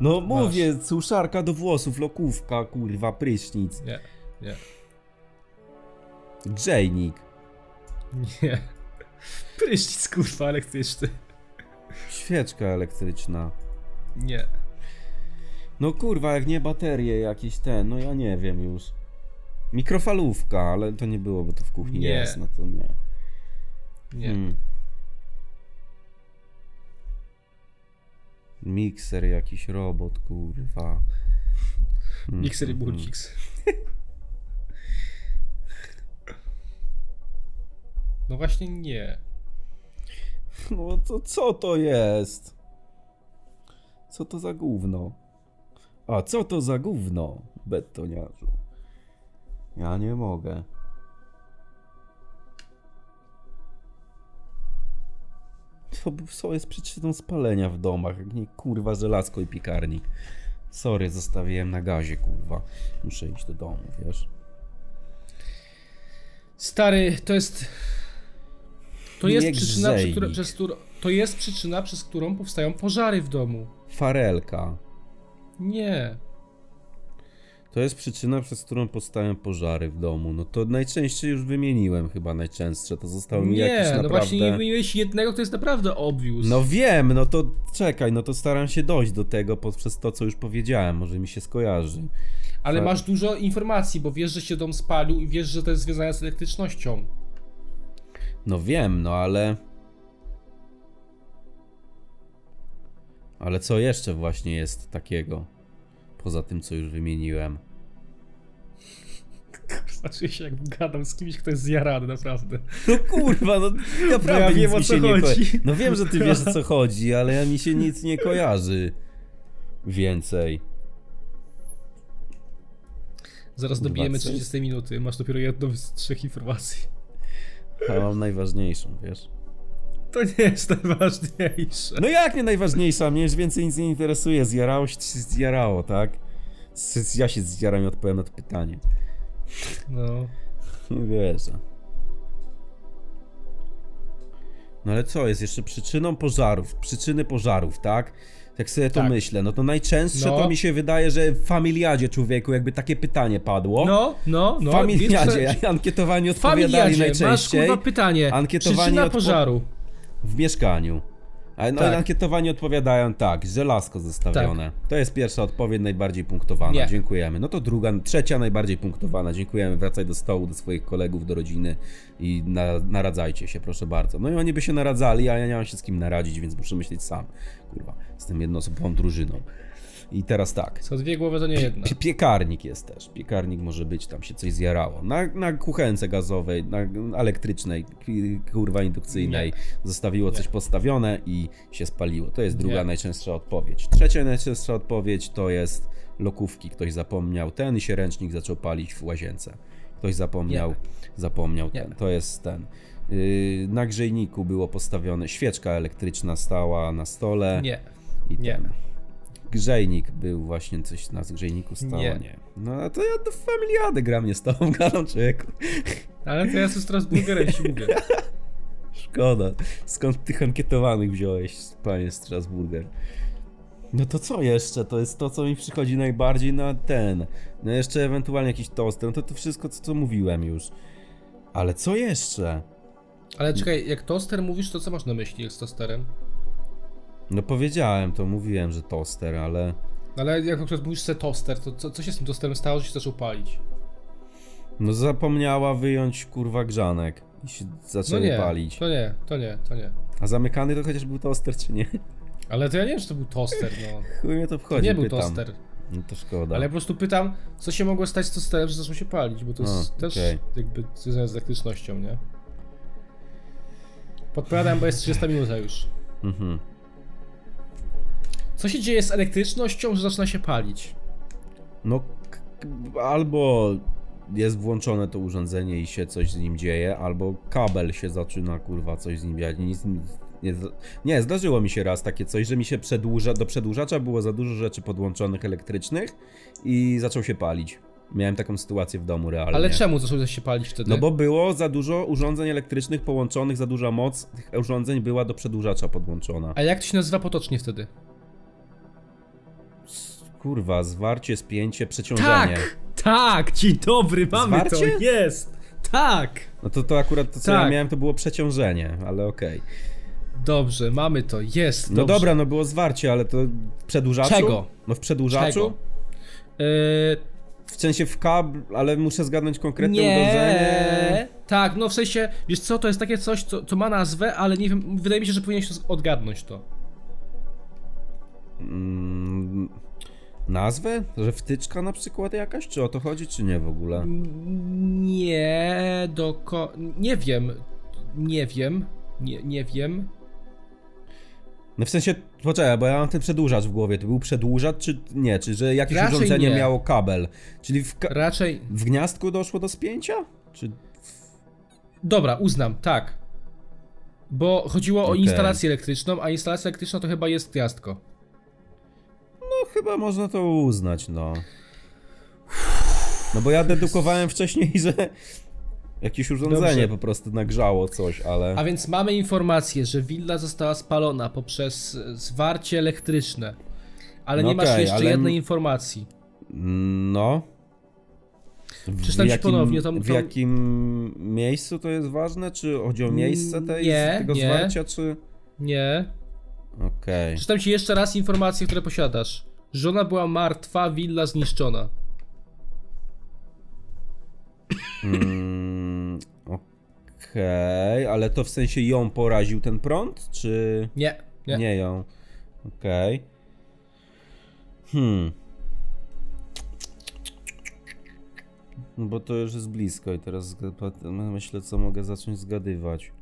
[SPEAKER 2] No mówię, suszarka do włosów, lokówka, kurwa, prysznic,
[SPEAKER 1] Nie. Nie.
[SPEAKER 2] grzejnik,
[SPEAKER 1] Nie. Prysznic kurwa elektryczny.
[SPEAKER 2] świeczka elektryczna.
[SPEAKER 1] Nie.
[SPEAKER 2] No kurwa, jak nie baterie jakieś te, no ja nie wiem już. Mikrofalówka, ale to nie było, bo to w kuchni
[SPEAKER 1] Nie.
[SPEAKER 2] jest, no to nie.
[SPEAKER 1] Nie.
[SPEAKER 2] Hmm. Mikser jakiś robot, kurwa. Hmm,
[SPEAKER 1] Mixer i
[SPEAKER 2] hmm, hmm.
[SPEAKER 1] Burkix. No właśnie nie.
[SPEAKER 2] No to co to jest? Co to za gówno? A co to za gówno, betoniarzu? Ja nie mogę. Co, co jest przyczyną spalenia w domach? Jak nie kurwa żelazko i piekarnik. Sorry, zostawiłem na gazie, kurwa. Muszę iść do domu, wiesz?
[SPEAKER 1] Stary, to jest. To jest
[SPEAKER 2] Nie
[SPEAKER 1] przyczyna, przez
[SPEAKER 2] grzejnik.
[SPEAKER 1] którą, przez którą, to jest przyczyna, przez którą powstają pożary w domu.
[SPEAKER 2] Farelka.
[SPEAKER 1] Nie.
[SPEAKER 2] To jest przyczyna, przez którą powstają pożary w domu. No to najczęściej już wymieniłem chyba najczęstsze. To zostało mi jakieś
[SPEAKER 1] Nie, no
[SPEAKER 2] naprawdę...
[SPEAKER 1] właśnie nie wymieniłeś jednego, to jest naprawdę obvious.
[SPEAKER 2] No wiem, no to czekaj, no to staram się dojść do tego poprzez to, co już powiedziałem. Może mi się skojarzy.
[SPEAKER 1] Ale
[SPEAKER 2] tak.
[SPEAKER 1] masz dużo informacji, bo wiesz, że się dom spalił i wiesz, że to jest związane z elektrycznością.
[SPEAKER 2] No wiem, no ale... Ale co jeszcze właśnie jest takiego? Poza tym, co już wymieniłem.
[SPEAKER 1] Znaczy się, jak gadam z kimś, kto jest zjarany, naprawdę.
[SPEAKER 2] No kurwa, no naprawdę
[SPEAKER 1] ja
[SPEAKER 2] nic
[SPEAKER 1] wiem,
[SPEAKER 2] mi
[SPEAKER 1] o co
[SPEAKER 2] się nie
[SPEAKER 1] chodzi.
[SPEAKER 2] koja- No wiem, że ty wiesz o co chodzi, ale ja mi się nic nie kojarzy. Więcej.
[SPEAKER 1] Zaraz
[SPEAKER 2] Kurwa,
[SPEAKER 1] dobijemy
[SPEAKER 2] co
[SPEAKER 1] 30 minuty, masz dopiero jedną z trzech informacji.
[SPEAKER 2] A mam najważniejszą, wiesz.
[SPEAKER 1] To nie jest najważniejsze.
[SPEAKER 2] No jak nie najważniejsza? Mnie już więcej nic nie interesuje. Zjarało się, czy się zjarało, tak? Z- Ja się zjaram i odpowiem na to pytanie.
[SPEAKER 1] No.
[SPEAKER 2] Nie wierzę. No ale co jest jeszcze przyczyną pożarów? Przyczyny pożarów, tak? Jak sobie to
[SPEAKER 1] Tak.
[SPEAKER 2] myślę, no to najczęstsze
[SPEAKER 1] No.
[SPEAKER 2] to mi się wydaje, że w familiadzie człowieku jakby takie pytanie padło.
[SPEAKER 1] No, no, no.
[SPEAKER 2] w familiadzie,
[SPEAKER 1] wiesz,
[SPEAKER 2] ankietowani
[SPEAKER 1] w
[SPEAKER 2] odpowiadali
[SPEAKER 1] familiadzie, masz
[SPEAKER 2] najczęściej
[SPEAKER 1] kurwa pytanie.
[SPEAKER 2] Ankietowanie
[SPEAKER 1] Przyczyna
[SPEAKER 2] odpo-
[SPEAKER 1] pożaru.
[SPEAKER 2] w mieszkaniu. A no
[SPEAKER 1] Tak.
[SPEAKER 2] i ankietowani odpowiadają tak, żelazko zestawione. To jest pierwsza odpowiedź, najbardziej punktowana.
[SPEAKER 1] Nie.
[SPEAKER 2] Dziękujemy. No to druga, trzecia najbardziej punktowana. Dziękujemy. Wracaj do stołu, do swoich kolegów, do rodziny i na, naradzajcie się, proszę bardzo. No i oni by się naradzali, a ja nie mam się z kim naradzić, więc muszę myśleć sam. Kurwa, z tym jednoosobową drużyną. I teraz tak.
[SPEAKER 1] Co dwie głowy to nie jedna.
[SPEAKER 2] Pie- Piekarnik jest też. Piekarnik może być, tam się coś zjarało. Na, na kuchence gazowej, na elektrycznej, k- kurwa indukcyjnej zostawiło coś postawione i się spaliło. To jest druga
[SPEAKER 1] Nie.
[SPEAKER 2] najczęstsza odpowiedź. Trzecia najczęstsza odpowiedź to jest lokówki. Ktoś zapomniał ten i się ręcznik zaczął palić w łazience. Ktoś zapomniał, zapomniał
[SPEAKER 1] Nie.
[SPEAKER 2] ten. To jest ten. Yy, na grzejniku było postawione, świeczka elektryczna stała na stole.
[SPEAKER 1] Nie.
[SPEAKER 2] I
[SPEAKER 1] Nie.
[SPEAKER 2] ten. Grzejnik był właśnie coś na grzejniku stało, nie.
[SPEAKER 1] Nie.
[SPEAKER 2] No a to ja do familiady gram nie z tobą gadam człowieku.
[SPEAKER 1] Ale to ja jestem teraz burgerem ci mówię.
[SPEAKER 2] Szkoda. Skąd tych ankietowanych wziąłeś, panie Strasburger? No to co jeszcze? To jest to, co mi przychodzi najbardziej na ten. No jeszcze ewentualnie jakiś toster. No to to wszystko, co, co mówiłem już. Ale co jeszcze?
[SPEAKER 1] Ale czekaj, jak toster mówisz, to co masz na myśli jak z tosterem?
[SPEAKER 2] No powiedziałem to, mówiłem, że toster, ale...
[SPEAKER 1] No Ale jak na przykład mówisz se toster, to co, co się z tym tosterem stało, że się zaczął palić?
[SPEAKER 2] No zapomniała wyjąć kurwa grzanek i się zaczęli
[SPEAKER 1] No nie,
[SPEAKER 2] palić.
[SPEAKER 1] to nie, to nie, to nie.
[SPEAKER 2] A zamykany to chociaż był toster, czy nie?
[SPEAKER 1] Ale to ja nie wiem, czy to był toster, no.
[SPEAKER 2] Chuj mnie to
[SPEAKER 1] To
[SPEAKER 2] wchodzi,
[SPEAKER 1] nie był
[SPEAKER 2] pytam.
[SPEAKER 1] toster.
[SPEAKER 2] No to szkoda.
[SPEAKER 1] Ale ja po prostu pytam, co się mogło stać z tosterem, że zaczął się palić, bo to jest
[SPEAKER 2] A,
[SPEAKER 1] też
[SPEAKER 2] No, okej.
[SPEAKER 1] jakby związane z elektrycznością, nie? Podpowiadam, bo jest 30 minuta już.
[SPEAKER 2] Mhm.
[SPEAKER 1] Co się dzieje z elektrycznością, że zaczyna się palić?
[SPEAKER 2] No, k- k- albo jest włączone to urządzenie i się coś z nim dzieje, albo kabel się zaczyna, kurwa, coś z nim dziać. Nic, nic, nie, z- nie, zdarzyło mi się raz takie coś, że mi się przedłuża, do przedłużacza było za dużo rzeczy podłączonych elektrycznych i zaczął się palić. Miałem taką sytuację w domu realnie.
[SPEAKER 1] Ale czemu zaczął się palić wtedy?
[SPEAKER 2] No bo było za dużo urządzeń elektrycznych połączonych, za duża moc tych urządzeń była do przedłużacza podłączona.
[SPEAKER 1] A jak to się nazywa potocznie wtedy?
[SPEAKER 2] Kurwa, zwarcie, spięcie, przeciążenie.
[SPEAKER 1] Tak! Dzień dobry,
[SPEAKER 2] Zwarcie?
[SPEAKER 1] Jest! Tak!
[SPEAKER 2] No to, to akurat to, co ja
[SPEAKER 1] Tak.
[SPEAKER 2] miałem, to było przeciążenie, ale okej.
[SPEAKER 1] Dobrze, mamy to, jest!
[SPEAKER 2] No
[SPEAKER 1] dobrze.
[SPEAKER 2] dobra, no było zwarcie, ale to w przedłużaczu?
[SPEAKER 1] Czego?
[SPEAKER 2] No w przedłużaczu?
[SPEAKER 1] Czego? Yy,
[SPEAKER 2] W sensie w kabl, ale muszę zgadnąć konkretne uderzenie.
[SPEAKER 1] nie! Tak, no w sensie, wiesz co, to jest takie coś, co, co ma nazwę, ale nie wiem, wydaje mi się, że powinieneś to z- odgadnąć to.
[SPEAKER 2] Mm, nazwę? Że wtyczka na przykład jakaś? Czy o to chodzi, czy nie w ogóle?
[SPEAKER 1] Nie do ko... Nie wiem. Nie wiem. Nie, nie wiem.
[SPEAKER 2] No w sensie, poczekaj, bo ja mam ten przedłużacz w głowie. To był przedłużacz, czy nie? Czy że jakieś
[SPEAKER 1] Raczej
[SPEAKER 2] urządzenie
[SPEAKER 1] nie.
[SPEAKER 2] miało kabel? Czyli w, ka-
[SPEAKER 1] Raczej.
[SPEAKER 2] w gniazdku doszło do spięcia? Czy...
[SPEAKER 1] Dobra, uznam, tak. Bo chodziło o
[SPEAKER 2] Okej.
[SPEAKER 1] instalację elektryczną, a instalacja elektryczna to chyba jest gniazdko.
[SPEAKER 2] No chyba można to uznać, no. No bo ja dedukowałem wcześniej, że jakieś urządzenie
[SPEAKER 1] Dobrze.
[SPEAKER 2] po prostu nagrzało coś, ale...
[SPEAKER 1] A więc mamy informację, że willa została spalona poprzez e, zwarcie elektryczne. Ale
[SPEAKER 2] No
[SPEAKER 1] nie masz
[SPEAKER 2] okej,
[SPEAKER 1] jeszcze
[SPEAKER 2] ale-
[SPEAKER 1] jednej informacji.
[SPEAKER 2] No. W
[SPEAKER 1] Przeczytam ci ponownie, to-
[SPEAKER 2] W
[SPEAKER 1] to-
[SPEAKER 2] jakim miejscu to jest ważne? Czy chodzi o miejsce tej,
[SPEAKER 1] Mm, nie,
[SPEAKER 2] tego
[SPEAKER 1] nie.
[SPEAKER 2] zwarcia, czy...
[SPEAKER 1] Nie.
[SPEAKER 2] Okej.
[SPEAKER 1] Przeczytam ci jeszcze raz informacje, które posiadasz. Żona była martwa, willa zniszczona.
[SPEAKER 2] Mm, Okej, ale to w sensie ją poraził ten prąd, czy...
[SPEAKER 1] Nie. Nie.
[SPEAKER 2] Nie ją. Okej. Hmm. No Bo to już jest blisko i teraz zga- myślę, co mogę zacząć zgadywać.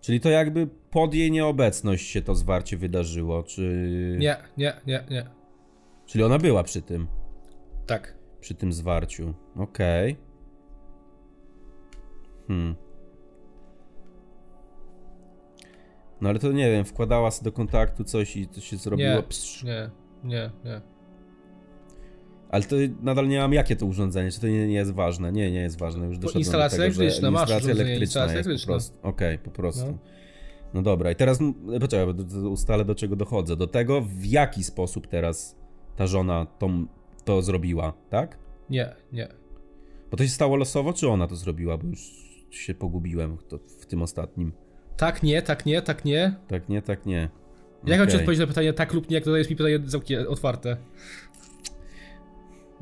[SPEAKER 2] Czyli to jakby pod jej nieobecność się to zwarcie wydarzyło, czy...
[SPEAKER 1] Nie, nie, nie, nie.
[SPEAKER 2] Czyli ona była przy tym,
[SPEAKER 1] Tak.
[SPEAKER 2] przy tym zwarciu. Okej. Hmm. No ale to nie wiem, wkładała sobie do kontaktu coś i to się zrobiło
[SPEAKER 1] Nie.
[SPEAKER 2] pstrz-
[SPEAKER 1] Nie, nie, nie.
[SPEAKER 2] Ale to nadal nie mam jakie to urządzenie, czy to nie, nie jest ważne? Nie, nie jest ważne, już doszedłem
[SPEAKER 1] instalacja
[SPEAKER 2] do tego, że
[SPEAKER 1] elektryczna, masz
[SPEAKER 2] instalacja
[SPEAKER 1] urządzenie,
[SPEAKER 2] elektryczna
[SPEAKER 1] instalacja
[SPEAKER 2] jest
[SPEAKER 1] elektryczna.
[SPEAKER 2] po prostu. Okej, po prostu.
[SPEAKER 1] No.
[SPEAKER 2] No. dobra, i teraz, m, poczekaj, bo d- d- ustalę do czego dochodzę. Do tego, w jaki sposób teraz ta żona to, to zrobiła, tak?
[SPEAKER 1] Nie, nie.
[SPEAKER 2] Bo to się stało losowo, czy ona to zrobiła? Bo już się pogubiłem to, w tym ostatnim.
[SPEAKER 1] Tak, nie, tak, nie, tak, nie.
[SPEAKER 2] Tak nie, tak nie.
[SPEAKER 1] Jak mam ci
[SPEAKER 2] Okej.
[SPEAKER 1] odpowiedzieć na pytanie tak lub nie, jak dodajesz mi pytanie zamki otwarte?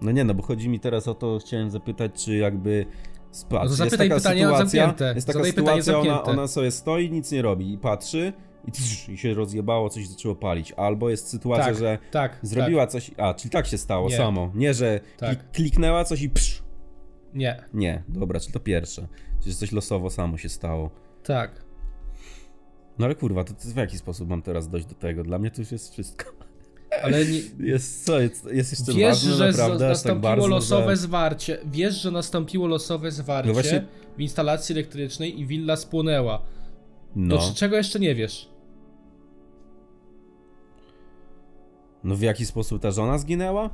[SPEAKER 2] No nie, no bo chodzi mi teraz o to, chciałem zapytać, czy jakby
[SPEAKER 1] No
[SPEAKER 2] spać.
[SPEAKER 1] to zapytaj
[SPEAKER 2] jest taka
[SPEAKER 1] pytanie
[SPEAKER 2] sytuacja,
[SPEAKER 1] zamknięte.
[SPEAKER 2] Jest taka
[SPEAKER 1] Zadaj pytanie
[SPEAKER 2] sytuacja, ona,
[SPEAKER 1] zamknięte.
[SPEAKER 2] ona sobie stoi, nic nie robi i patrzy i, trz, i się rozjebało, coś zaczęło palić. Albo jest sytuacja,
[SPEAKER 1] tak,
[SPEAKER 2] że
[SPEAKER 1] tak,
[SPEAKER 2] zrobiła coś, a czyli tak się stało
[SPEAKER 1] Nie.
[SPEAKER 2] samo. Nie, że
[SPEAKER 1] Tak.
[SPEAKER 2] klik- kliknęła coś i psz.
[SPEAKER 1] Tak, nie,
[SPEAKER 2] Nie, dobra, czyli to pierwsze. Czyli że coś losowo samo się stało.
[SPEAKER 1] tak.
[SPEAKER 2] No ale kurwa, to, to w jaki sposób mam teraz dojść do tego? Dla mnie to już jest wszystko.
[SPEAKER 1] Ale nie,
[SPEAKER 2] Jest co, jest, jest jeszcze
[SPEAKER 1] wiesz,
[SPEAKER 2] ważne
[SPEAKER 1] że
[SPEAKER 2] naprawdę,
[SPEAKER 1] za-
[SPEAKER 2] aż tak
[SPEAKER 1] nastąpiło
[SPEAKER 2] bardzo,
[SPEAKER 1] losowe
[SPEAKER 2] że...
[SPEAKER 1] zwarcie. Wiesz, że nastąpiło losowe zwarcie
[SPEAKER 2] No właśnie-
[SPEAKER 1] w instalacji elektrycznej i willa spłonęła.
[SPEAKER 2] No.
[SPEAKER 1] No. To czy- czego jeszcze nie wiesz?
[SPEAKER 2] no w jaki sposób ta żona zginęła?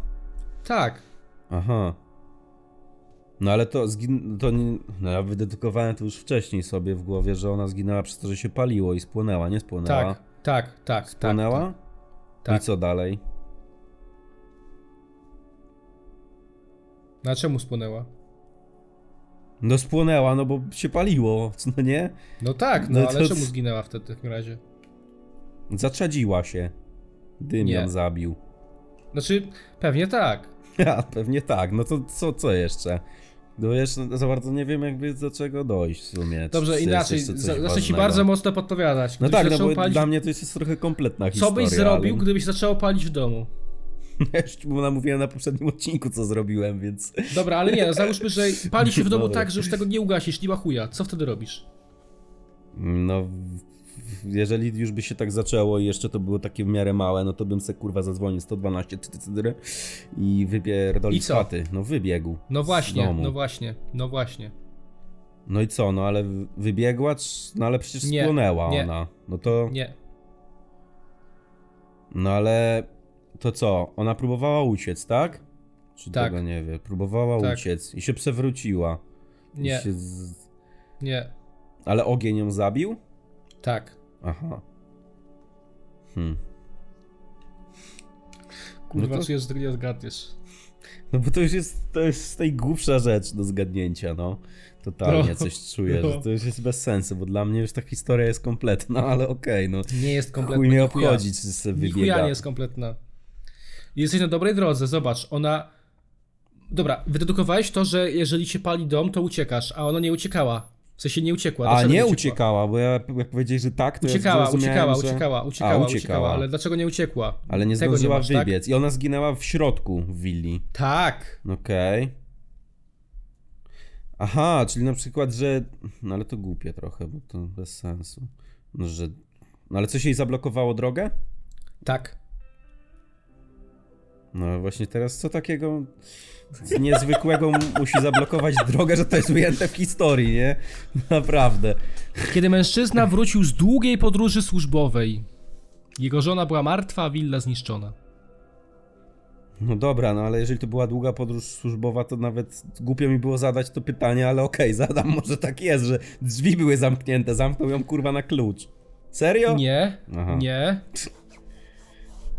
[SPEAKER 1] Tak.
[SPEAKER 2] Aha. No ale to, zgin- to nie... no, ja wydedukowałem to już wcześniej sobie w głowie, że ona zginęła przez to, że się paliło i spłonęła, nie spłonęła.
[SPEAKER 1] Tak, tak, tak.
[SPEAKER 2] No. Spłonęła?
[SPEAKER 1] Tak, tak.
[SPEAKER 2] I co dalej?
[SPEAKER 1] tak. Na czemu spłonęła?
[SPEAKER 2] No spłonęła, no bo się paliło, no nie?
[SPEAKER 1] No tak, no,
[SPEAKER 2] No
[SPEAKER 1] ale
[SPEAKER 2] to-
[SPEAKER 1] czemu zginęła wtedy w takim razie?
[SPEAKER 2] Zaczadziła się. Dym
[SPEAKER 1] Nie.
[SPEAKER 2] ją zabił.
[SPEAKER 1] Znaczy, pewnie tak.
[SPEAKER 2] A pewnie tak, no to co, co jeszcze? No wiesz, no, za bardzo nie wiem jakby do czego dojść w sumie. Czy
[SPEAKER 1] Dobrze,
[SPEAKER 2] jest
[SPEAKER 1] inaczej,
[SPEAKER 2] jeszcze coś
[SPEAKER 1] za- zaczę ci
[SPEAKER 2] ważnego?
[SPEAKER 1] bardzo mocno podpowiadać.
[SPEAKER 2] No
[SPEAKER 1] Gdybyś
[SPEAKER 2] tak, no
[SPEAKER 1] zaczął
[SPEAKER 2] bo
[SPEAKER 1] palić,
[SPEAKER 2] dla mnie to jest trochę kompletna
[SPEAKER 1] co
[SPEAKER 2] historia.
[SPEAKER 1] byś zrobił,
[SPEAKER 2] ale...
[SPEAKER 1] gdybyś zaczęło palić w domu?
[SPEAKER 2] Ja już mu namówiłem na poprzednim odcinku, co zrobiłem, więc...
[SPEAKER 1] Dobra, ale nie, no, załóżmy, że pali się w domu
[SPEAKER 2] Dobra.
[SPEAKER 1] tak, że już tego nie ugasisz, nie ma chuja. Co wtedy robisz?
[SPEAKER 2] No, w- w- jeżeli już by się tak zaczęło i jeszcze to było takie w miarę małe, no to bym se kurwa zadzwonił 112 ty, ty, ty, ty, i
[SPEAKER 1] I
[SPEAKER 2] wypierdolił
[SPEAKER 1] co?
[SPEAKER 2] paty. No wybiegł.
[SPEAKER 1] No
[SPEAKER 2] z
[SPEAKER 1] właśnie,
[SPEAKER 2] domu.
[SPEAKER 1] no właśnie, no właśnie.
[SPEAKER 2] No i co, no ale w- wybiegła, trz- no ale przecież
[SPEAKER 1] Nie,
[SPEAKER 2] spłonęła
[SPEAKER 1] nie.
[SPEAKER 2] ona. No to,
[SPEAKER 1] Nie.
[SPEAKER 2] no ale to co, ona próbowała uciec, tak? Czy
[SPEAKER 1] Tak.
[SPEAKER 2] tego nie wie? Próbowała
[SPEAKER 1] Tak.
[SPEAKER 2] uciec i się przewróciła. I
[SPEAKER 1] Nie,
[SPEAKER 2] Się z...
[SPEAKER 1] nie,
[SPEAKER 2] Ale ogień ją zabił?
[SPEAKER 1] tak.
[SPEAKER 2] Aha. Hmm.
[SPEAKER 1] Kurwa,
[SPEAKER 2] No to-
[SPEAKER 1] czy jeszcze nie zgadniesz?
[SPEAKER 2] No bo to już jest, to jest najgłupsza rzecz do zgadnięcia, no. Totalnie
[SPEAKER 1] No,
[SPEAKER 2] coś czuję,
[SPEAKER 1] no.
[SPEAKER 2] że to już jest bez sensu, bo dla mnie już ta historia jest kompletna, ale okej, no.
[SPEAKER 1] Nie jest kompletna.
[SPEAKER 2] Chuj nie
[SPEAKER 1] chuja.
[SPEAKER 2] obchodzi, czy sobie
[SPEAKER 1] Ni chuja
[SPEAKER 2] wybiega.
[SPEAKER 1] nie jest kompletna. Jesteś na dobrej drodze, zobacz, ona... Dobra, wydedukowałeś to, że jeżeli się pali dom, to uciekasz, a ona nie uciekała. W sensie nie uciekła.
[SPEAKER 2] A
[SPEAKER 1] dlaczego
[SPEAKER 2] nie uciekała, bo ja, jak powiedziałeś, że tak, to ja
[SPEAKER 1] Uciekała,
[SPEAKER 2] zrozumiałem,
[SPEAKER 1] uciekała,
[SPEAKER 2] że...
[SPEAKER 1] uciekała, uciekała,
[SPEAKER 2] uciekała.
[SPEAKER 1] uciekała, ale dlaczego nie uciekła?
[SPEAKER 2] Ale nie
[SPEAKER 1] Tego
[SPEAKER 2] zdążyła
[SPEAKER 1] masz,
[SPEAKER 2] wybiec i ona zginęła w środku w willi.
[SPEAKER 1] Tak? tak,
[SPEAKER 2] Okej. Aha, czyli na przykład, że... No ale to głupie trochę, bo to bez sensu. No, że... No ale coś jej zablokowało drogę?
[SPEAKER 1] tak.
[SPEAKER 2] No właśnie teraz co takiego niezwykłego m- musi zablokować drogę, że to jest ujęte w historii, nie? Naprawdę.
[SPEAKER 1] Kiedy mężczyzna wrócił z długiej podróży służbowej, jego żona była martwa, a willa zniszczona.
[SPEAKER 2] No dobra, no ale jeżeli to była długa podróż służbowa, to nawet głupio mi było zadać to pytanie, ale okej, zadam, może tak jest, że drzwi były zamknięte, zamknął ją kurwa na klucz. Serio?
[SPEAKER 1] Nie,
[SPEAKER 2] Aha.
[SPEAKER 1] nie.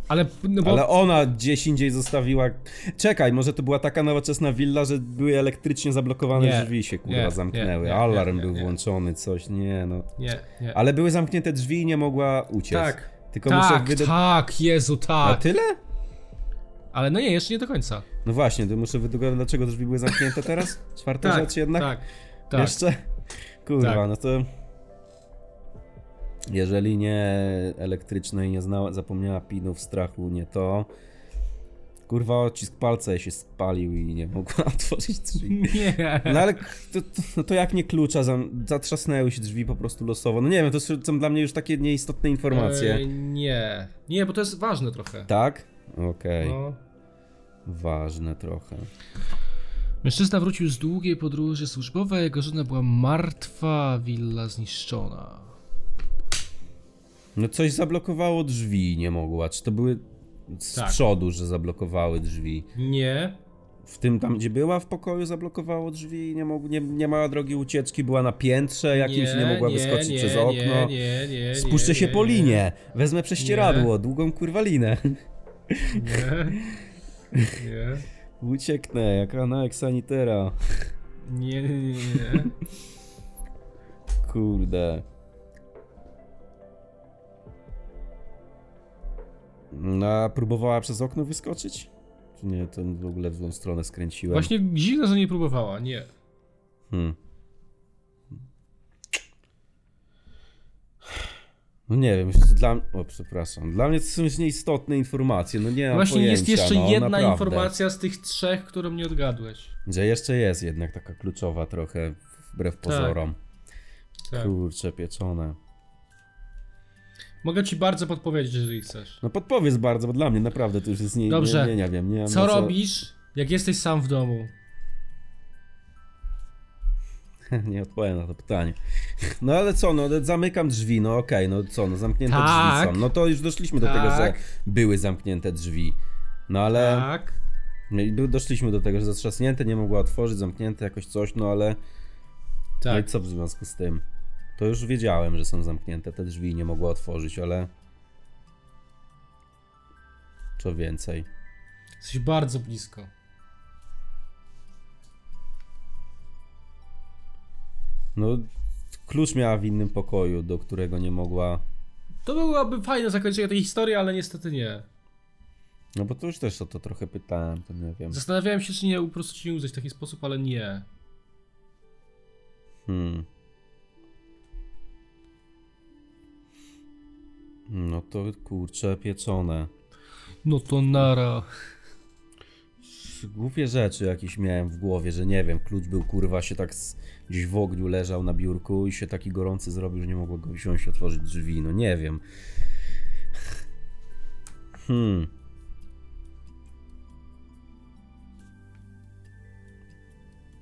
[SPEAKER 1] Ale, no bo,
[SPEAKER 2] Ale ona gdzieś indziej zostawiła... Czekaj, może to była taka nowoczesna willa, że były elektrycznie zablokowane
[SPEAKER 1] Nie,
[SPEAKER 2] drzwi się kurwa
[SPEAKER 1] nie,
[SPEAKER 2] zamknęły,
[SPEAKER 1] nie, nie,
[SPEAKER 2] alarm
[SPEAKER 1] nie,
[SPEAKER 2] był
[SPEAKER 1] nie.
[SPEAKER 2] włączony, coś, nie no.
[SPEAKER 1] nie, nie.
[SPEAKER 2] Ale były zamknięte drzwi i nie mogła uciec.
[SPEAKER 1] Tak.
[SPEAKER 2] Tylko
[SPEAKER 1] tak,
[SPEAKER 2] muszę wyde...
[SPEAKER 1] tak, Jezu,
[SPEAKER 2] A
[SPEAKER 1] tak.
[SPEAKER 2] tyle?
[SPEAKER 1] Ale no nie, jeszcze nie do końca.
[SPEAKER 2] No właśnie, to muszę wydedukować, dlaczego drzwi były zamknięte teraz? Czwarta
[SPEAKER 1] Tak,
[SPEAKER 2] rzecz jednak?
[SPEAKER 1] tak, tak.
[SPEAKER 2] Jeszcze? Kurwa,
[SPEAKER 1] Tak.
[SPEAKER 2] no to... Jeżeli nie elektrycznej, nie znała, zapomniała pinów strachu, nie to... Kurwa, odcisk palca jej się spalił i nie mogła otworzyć drzwi.
[SPEAKER 1] Nie.
[SPEAKER 2] No ale k- to, to, no to jak nie klucza, zam- zatrzasnęły się drzwi po prostu losowo. No nie wiem, to są dla mnie już takie nieistotne informacje.
[SPEAKER 1] E, nie, nie, bo to jest ważne trochę.
[SPEAKER 2] Tak? Okej,
[SPEAKER 1] No.
[SPEAKER 2] ważne trochę.
[SPEAKER 1] Mężczyzna wrócił z długiej podróży służbowej, jego żona była martwa, willa zniszczona.
[SPEAKER 2] No coś zablokowało drzwi, nie mogła. Czy to były z
[SPEAKER 1] Tak.
[SPEAKER 2] przodu, że zablokowały drzwi?
[SPEAKER 1] Nie,
[SPEAKER 2] W tym tam, gdzie była w pokoju, zablokowało drzwi i nie, mog- nie, nie miała drogi ucieczki, była na piętrze jakimś, nie, mogła wyskoczyć
[SPEAKER 1] nie,
[SPEAKER 2] przez
[SPEAKER 1] nie,
[SPEAKER 2] okno.
[SPEAKER 1] Nie, nie, nie,
[SPEAKER 2] Spuszczę
[SPEAKER 1] nie,
[SPEAKER 2] się
[SPEAKER 1] nie,
[SPEAKER 2] po linie, wezmę prześcieradło, długą kurwa linę.
[SPEAKER 1] Nie, nie,
[SPEAKER 2] Ucieknę, jak Ana jak sanitera.
[SPEAKER 1] nie, nie, nie, nie.
[SPEAKER 2] Kurde. No, a próbowała przez okno wyskoczyć? Czy nie, to w ogóle w złą stronę skręciłem.
[SPEAKER 1] Właśnie dziwne, że nie próbowała, nie.
[SPEAKER 2] Hmm. No nie wiem, jeszcze dla mnie... O, przepraszam. Dla mnie to są już nieistotne informacje, no nie mam
[SPEAKER 1] Właśnie
[SPEAKER 2] pojęcia,
[SPEAKER 1] jest jeszcze
[SPEAKER 2] no,
[SPEAKER 1] jedna
[SPEAKER 2] naprawdę.
[SPEAKER 1] informacja z tych trzech, którą nie odgadłeś.
[SPEAKER 2] Że jeszcze jest jednak taka kluczowa trochę, wbrew pozorom.
[SPEAKER 1] Tak.
[SPEAKER 2] Kurcze, pieczone.
[SPEAKER 1] Mogę ci bardzo podpowiedzieć, jeżeli chcesz.
[SPEAKER 2] No podpowiedz bardzo, bo dla mnie naprawdę to już jest nie,
[SPEAKER 1] Dobrze.
[SPEAKER 2] nie, nie, nie wiem. Nie wiem
[SPEAKER 1] Co
[SPEAKER 2] na
[SPEAKER 1] robisz, jak jesteś sam w domu?
[SPEAKER 2] Nie odpowiem na to pytanie. No ale co, no zamykam drzwi, no okej, no co, no zamknięte
[SPEAKER 1] Tak.
[SPEAKER 2] drzwi są. No to już doszliśmy do tego, że
[SPEAKER 1] Tak.
[SPEAKER 2] były zamknięte drzwi. No ale...
[SPEAKER 1] Tak.
[SPEAKER 2] No i do- doszliśmy do tego, że zatrzasnięte, nie mogła otworzyć, zamknięte jakoś coś, no ale no i
[SPEAKER 1] Tak.
[SPEAKER 2] co w związku z tym? To już wiedziałem, że są zamknięte te drzwi i nie mogła otworzyć, ale co więcej.
[SPEAKER 1] Jesteś bardzo blisko.
[SPEAKER 2] No klucz miała w innym pokoju, do którego nie mogła,
[SPEAKER 1] To byłoby fajne zakończenie tej historii, ale niestety nie.
[SPEAKER 2] no bo to już też o to trochę pytałem, to nie wiem.
[SPEAKER 1] Zastanawiałem się, czy nie po prostu ci nie użyć w taki sposób, ale nie.
[SPEAKER 2] Hmm. No to kurczę, pieczone.
[SPEAKER 1] No to nara.
[SPEAKER 2] Głupie rzeczy jakieś miałem w głowie, że nie wiem, klucz był kurwa, się tak z, gdzieś w ogniu leżał na biurku i się taki gorący zrobił, że nie mogło go wziąć i otworzyć drzwi, no nie wiem. Hmm.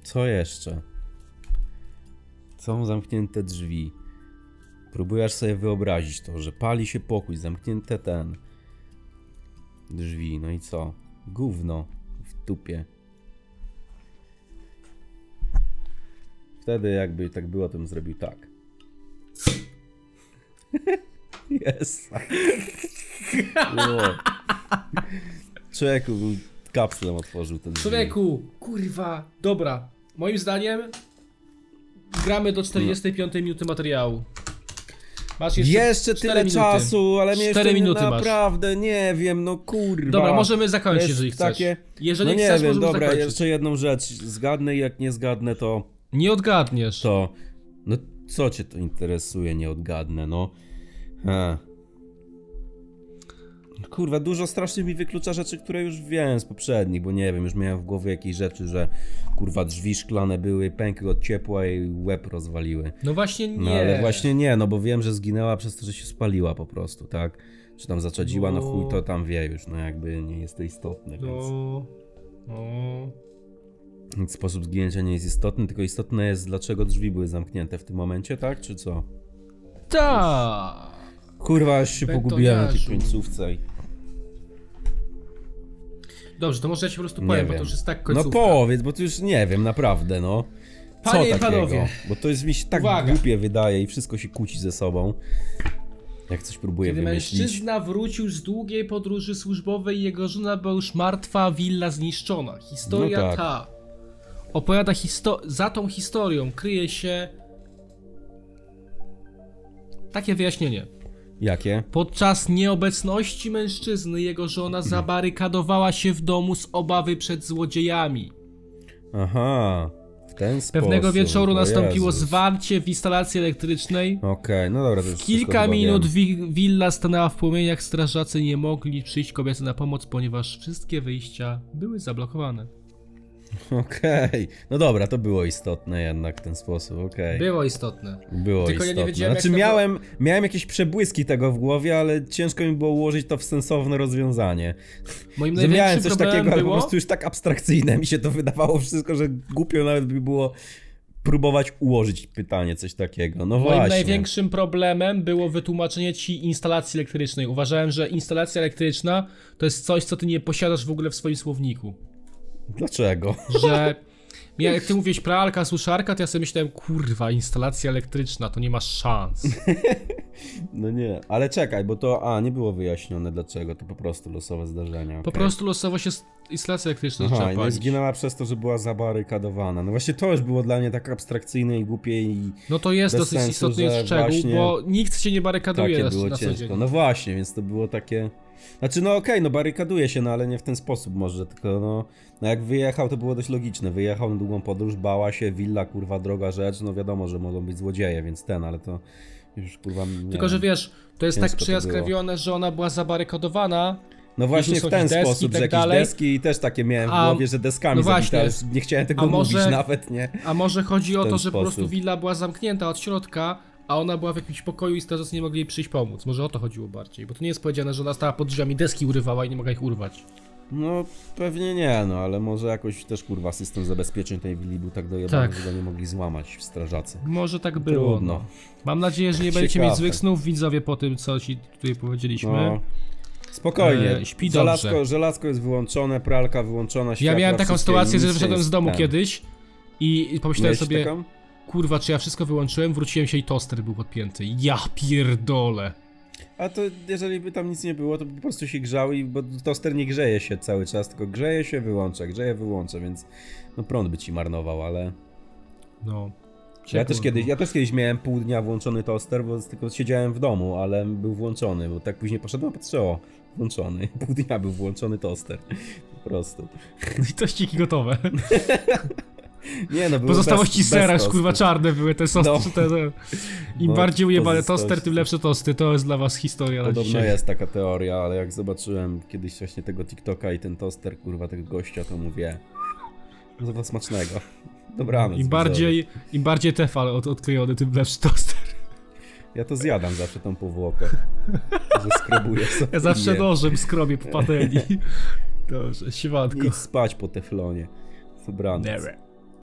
[SPEAKER 2] Co jeszcze? Są zamknięte drzwi. Próbujesz sobie wyobrazić to, że pali się pokój, zamknięte ten drzwi, no i co? Gówno w dupie. Wtedy jakby tak było, to bym zrobił tak. Jest. Wow. Człowieku, był- kapslem otworzył ten drzwi.
[SPEAKER 1] Człowieku, kurwa, dobra. Moim zdaniem gramy do 45 minuty materiału. Masz jeszcze,
[SPEAKER 2] Jeszcze
[SPEAKER 1] cztery
[SPEAKER 2] tyle
[SPEAKER 1] minuty.
[SPEAKER 2] czasu, ale mnie
[SPEAKER 1] Cztery
[SPEAKER 2] jeszcze
[SPEAKER 1] minuty masz.
[SPEAKER 2] naprawdę nie wiem, no kurwa.
[SPEAKER 1] Dobra, możemy zakończyć,
[SPEAKER 2] Jest
[SPEAKER 1] jeżeli chcesz.
[SPEAKER 2] takie-
[SPEAKER 1] Jeżeli
[SPEAKER 2] no nie
[SPEAKER 1] chcesz,
[SPEAKER 2] wiem,
[SPEAKER 1] możemy
[SPEAKER 2] dobra,
[SPEAKER 1] zakończyć.
[SPEAKER 2] jeszcze jedną rzecz. Zgadnę i jak nie zgadnę, to
[SPEAKER 1] Nie odgadniesz.
[SPEAKER 2] to. No co cię to interesuje, nie odgadnę, no. E. Kurwa, dużo strasznie mi wyklucza rzeczy, które już wiem z poprzednich, bo nie wiem, już miałem w głowie jakieś rzeczy, że kurwa drzwi szklane były, pękły od ciepła i łeb rozwaliły.
[SPEAKER 1] No właśnie nie.
[SPEAKER 2] No ale właśnie nie, no bo wiem, że zginęła przez to, że się spaliła po prostu, tak? Czy tam zaczadziła, no chuj, to tam wie już, no jakby nie jest to istotne, więc...
[SPEAKER 1] No, no.
[SPEAKER 2] Więc sposób zginięcia nie jest istotny, tylko istotne jest, dlaczego drzwi były zamknięte w tym momencie, tak? Czy co?
[SPEAKER 1] Tak.
[SPEAKER 2] Kurwa, aż się pogubiłem na tej
[SPEAKER 1] Betoniarzu.
[SPEAKER 2] końcówce.
[SPEAKER 1] No
[SPEAKER 2] i-
[SPEAKER 1] Dobrze, to może ja ci po prostu
[SPEAKER 2] Nie
[SPEAKER 1] powiem, bo
[SPEAKER 2] wiem.
[SPEAKER 1] to już jest tak
[SPEAKER 2] No
[SPEAKER 1] końcówka.
[SPEAKER 2] powiedz, bo tu już nie wiem, naprawdę, no. Co
[SPEAKER 1] Panie i
[SPEAKER 2] takiego?
[SPEAKER 1] panowie.
[SPEAKER 2] Bo to jest mi się tak
[SPEAKER 1] Uwaga.
[SPEAKER 2] głupie wydaje i wszystko się kłóci ze sobą. Jak coś próbuję
[SPEAKER 1] Kiedy
[SPEAKER 2] wymyślić.
[SPEAKER 1] mężczyzna wrócił z długiej podróży służbowej, jego żona była już martwa, willa zniszczona. Historia
[SPEAKER 2] No tak.
[SPEAKER 1] ta opowiada histo- za tą historią kryje się takie wyjaśnienie.
[SPEAKER 2] Jakie?
[SPEAKER 1] Podczas nieobecności mężczyzny jego żona zabarykadowała się w domu z obawy przed złodziejami.
[SPEAKER 2] Aha, w ten sposób.
[SPEAKER 1] Pewnego wieczoru
[SPEAKER 2] o
[SPEAKER 1] nastąpiło
[SPEAKER 2] no Jezus.
[SPEAKER 1] zwarcie w instalacji elektrycznej.
[SPEAKER 2] Okej, no dobra, to już wszystko
[SPEAKER 1] Kilka
[SPEAKER 2] chyba
[SPEAKER 1] minut
[SPEAKER 2] wiem.
[SPEAKER 1] wi- willa stanęła w płomieniach, strażacy nie mogli przyjść kobiety na pomoc, ponieważ wszystkie wyjścia były zablokowane.
[SPEAKER 2] Okej, no dobra, to było istotne jednak w ten sposób, okej.
[SPEAKER 1] Było istotne.
[SPEAKER 2] Było
[SPEAKER 1] Tylko ja nie
[SPEAKER 2] istotne.
[SPEAKER 1] wiedziałem, jak
[SPEAKER 2] znaczy
[SPEAKER 1] to
[SPEAKER 2] miałem, miałem jakieś przebłyski tego w głowie, ale ciężko mi było ułożyć to w sensowne rozwiązanie.
[SPEAKER 1] Moim
[SPEAKER 2] Że miałem
[SPEAKER 1] największym
[SPEAKER 2] coś
[SPEAKER 1] problemem
[SPEAKER 2] takiego, ale po
[SPEAKER 1] było...
[SPEAKER 2] prostu już tak abstrakcyjne mi się to wydawało wszystko, że głupio nawet by było próbować ułożyć pytanie, coś takiego. No
[SPEAKER 1] Moim
[SPEAKER 2] właśnie.
[SPEAKER 1] największym problemem było wytłumaczenie ci instalacji elektrycznej. Uważałem, że instalacja elektryczna to jest coś, co ty nie posiadasz w ogóle w swoim słowniku.
[SPEAKER 2] Dlaczego?
[SPEAKER 1] Że ja- jak ty mówisz pralka, suszarka, to ja sobie myślałem, kurwa, instalacja elektryczna, to nie ma szans.
[SPEAKER 2] No nie, ale czekaj, bo to, a, nie było wyjaśnione dlaczego, to po prostu losowe zdarzenia.
[SPEAKER 1] Po
[SPEAKER 2] okej.
[SPEAKER 1] prostu losowo się s- instalacja elektryczna
[SPEAKER 2] Aha,
[SPEAKER 1] zaczęła
[SPEAKER 2] no i
[SPEAKER 1] palić.
[SPEAKER 2] zginęła przez to, że była zabarykadowana. No właśnie to już było dla mnie tak abstrakcyjne i głupie i
[SPEAKER 1] No to jest
[SPEAKER 2] Bez
[SPEAKER 1] dosyć
[SPEAKER 2] sensu,
[SPEAKER 1] istotny
[SPEAKER 2] że
[SPEAKER 1] jest szczegół,
[SPEAKER 2] właśnie
[SPEAKER 1] bo nikt się nie barykaduje
[SPEAKER 2] takie
[SPEAKER 1] na,
[SPEAKER 2] było
[SPEAKER 1] na co
[SPEAKER 2] ciężko.
[SPEAKER 1] dzień.
[SPEAKER 2] No właśnie, więc to było takie. Znaczy, no okej, no barykaduje się, no ale nie w ten sposób może, tylko no, no jak wyjechał, to było dość logiczne. Wyjechał na długą podróż, bała się, willa, kurwa, droga rzecz, no wiadomo, że mogą być złodzieje, więc ten, ale to już kurwa... nie
[SPEAKER 1] Tylko, że
[SPEAKER 2] wiem.
[SPEAKER 1] wiesz, to jest
[SPEAKER 2] Ciężko
[SPEAKER 1] tak
[SPEAKER 2] to
[SPEAKER 1] przyjaskrawione, że ona była zabarykadowana,
[SPEAKER 2] No właśnie
[SPEAKER 1] są
[SPEAKER 2] w ten
[SPEAKER 1] jakieś deski
[SPEAKER 2] sposób,
[SPEAKER 1] i tak
[SPEAKER 2] że jakieś
[SPEAKER 1] dalej.
[SPEAKER 2] deski i też takie miałem
[SPEAKER 1] A-
[SPEAKER 2] w głowie, że deskami
[SPEAKER 1] no
[SPEAKER 2] no
[SPEAKER 1] właśnie.
[SPEAKER 2] nie chciałem tego
[SPEAKER 1] A
[SPEAKER 2] mówić
[SPEAKER 1] może-
[SPEAKER 2] nawet, nie?
[SPEAKER 1] a może chodzi o
[SPEAKER 2] ten
[SPEAKER 1] to, że po prostu
[SPEAKER 2] sposób.
[SPEAKER 1] willa była zamknięta od środka, a ona była w jakimś pokoju i strażacy nie mogli jej przyjść pomóc. Może o to chodziło bardziej, bo to nie jest powiedziane, że ona stała pod drzwiami, deski urywała i nie mogła ich urwać.
[SPEAKER 2] No pewnie nie, no ale może jakoś też kurwa system zabezpieczeń tej willi był tak dojebany,
[SPEAKER 1] Tak.
[SPEAKER 2] że go nie mogli złamać w strażacy.
[SPEAKER 1] Może tak było.
[SPEAKER 2] Trudno.
[SPEAKER 1] No. Mam nadzieję, że nie będziecie
[SPEAKER 2] Ciekawe.
[SPEAKER 1] mieć złych snów, widzowie, po tym, co ci tutaj powiedzieliśmy.
[SPEAKER 2] No. Spokojnie.
[SPEAKER 1] E, śpi dobrze.
[SPEAKER 2] żelazko, żelazko jest wyłączone, pralka wyłączona,
[SPEAKER 1] ja
[SPEAKER 2] światła
[SPEAKER 1] miałem taką
[SPEAKER 2] wszystkie,
[SPEAKER 1] sytuację,
[SPEAKER 2] nic
[SPEAKER 1] że
[SPEAKER 2] nie
[SPEAKER 1] wyszedłem
[SPEAKER 2] jest
[SPEAKER 1] z domu
[SPEAKER 2] ten.
[SPEAKER 1] kiedyś i i pomyślałem
[SPEAKER 2] Miałeś
[SPEAKER 1] sobie...
[SPEAKER 2] taką?
[SPEAKER 1] kurwa, czy ja wszystko wyłączyłem, wróciłem się i toster był podpięty. Ja pierdolę.
[SPEAKER 2] A to jeżeli by tam nic nie było, to po prostu się grzały, i- bo toster nie grzeje się cały czas, tylko grzeje się, wyłącza, grzeje, wyłącza, więc no prąd by ci marnował, ale...
[SPEAKER 1] No.
[SPEAKER 2] Ja też, kiedyś, ja też kiedyś miałem pół dnia włączony toster, bo tylko siedziałem w domu, ale był włączony, bo tak później poszedłem, a patrzę, o, włączony. Pół dnia był włączony toster, po prostu.
[SPEAKER 1] Litości gotowe.
[SPEAKER 2] Nie no, były
[SPEAKER 1] Pozostałości
[SPEAKER 2] bez,
[SPEAKER 1] sera,
[SPEAKER 2] bez
[SPEAKER 1] już, kurwa,
[SPEAKER 2] tostu.
[SPEAKER 1] czarne były te sosty.
[SPEAKER 2] No.
[SPEAKER 1] Te, te. Im
[SPEAKER 2] No,
[SPEAKER 1] bardziej ujebane
[SPEAKER 2] pozostałości.
[SPEAKER 1] toster, tym lepsze tosty. To jest dla was historia na
[SPEAKER 2] Podobno
[SPEAKER 1] dzisiaj.
[SPEAKER 2] jest taka teoria, ale jak zobaczyłem kiedyś właśnie tego TikToka i ten toster, kurwa, tego gościa, to mówię... No to smacznego. Dobranoc.
[SPEAKER 1] Im bardziej, Im bardziej tefal od, odklejony, tym lepszy toster.
[SPEAKER 2] widzowie. Ja to zjadam zawsze tą powłokę. że skrobuję sobie.
[SPEAKER 1] Ja zawsze
[SPEAKER 2] i
[SPEAKER 1] nożem skrobię po patelni. Dobrze, siwanko.
[SPEAKER 2] Idź spać po teflonie. Dobranoc.
[SPEAKER 1] Never.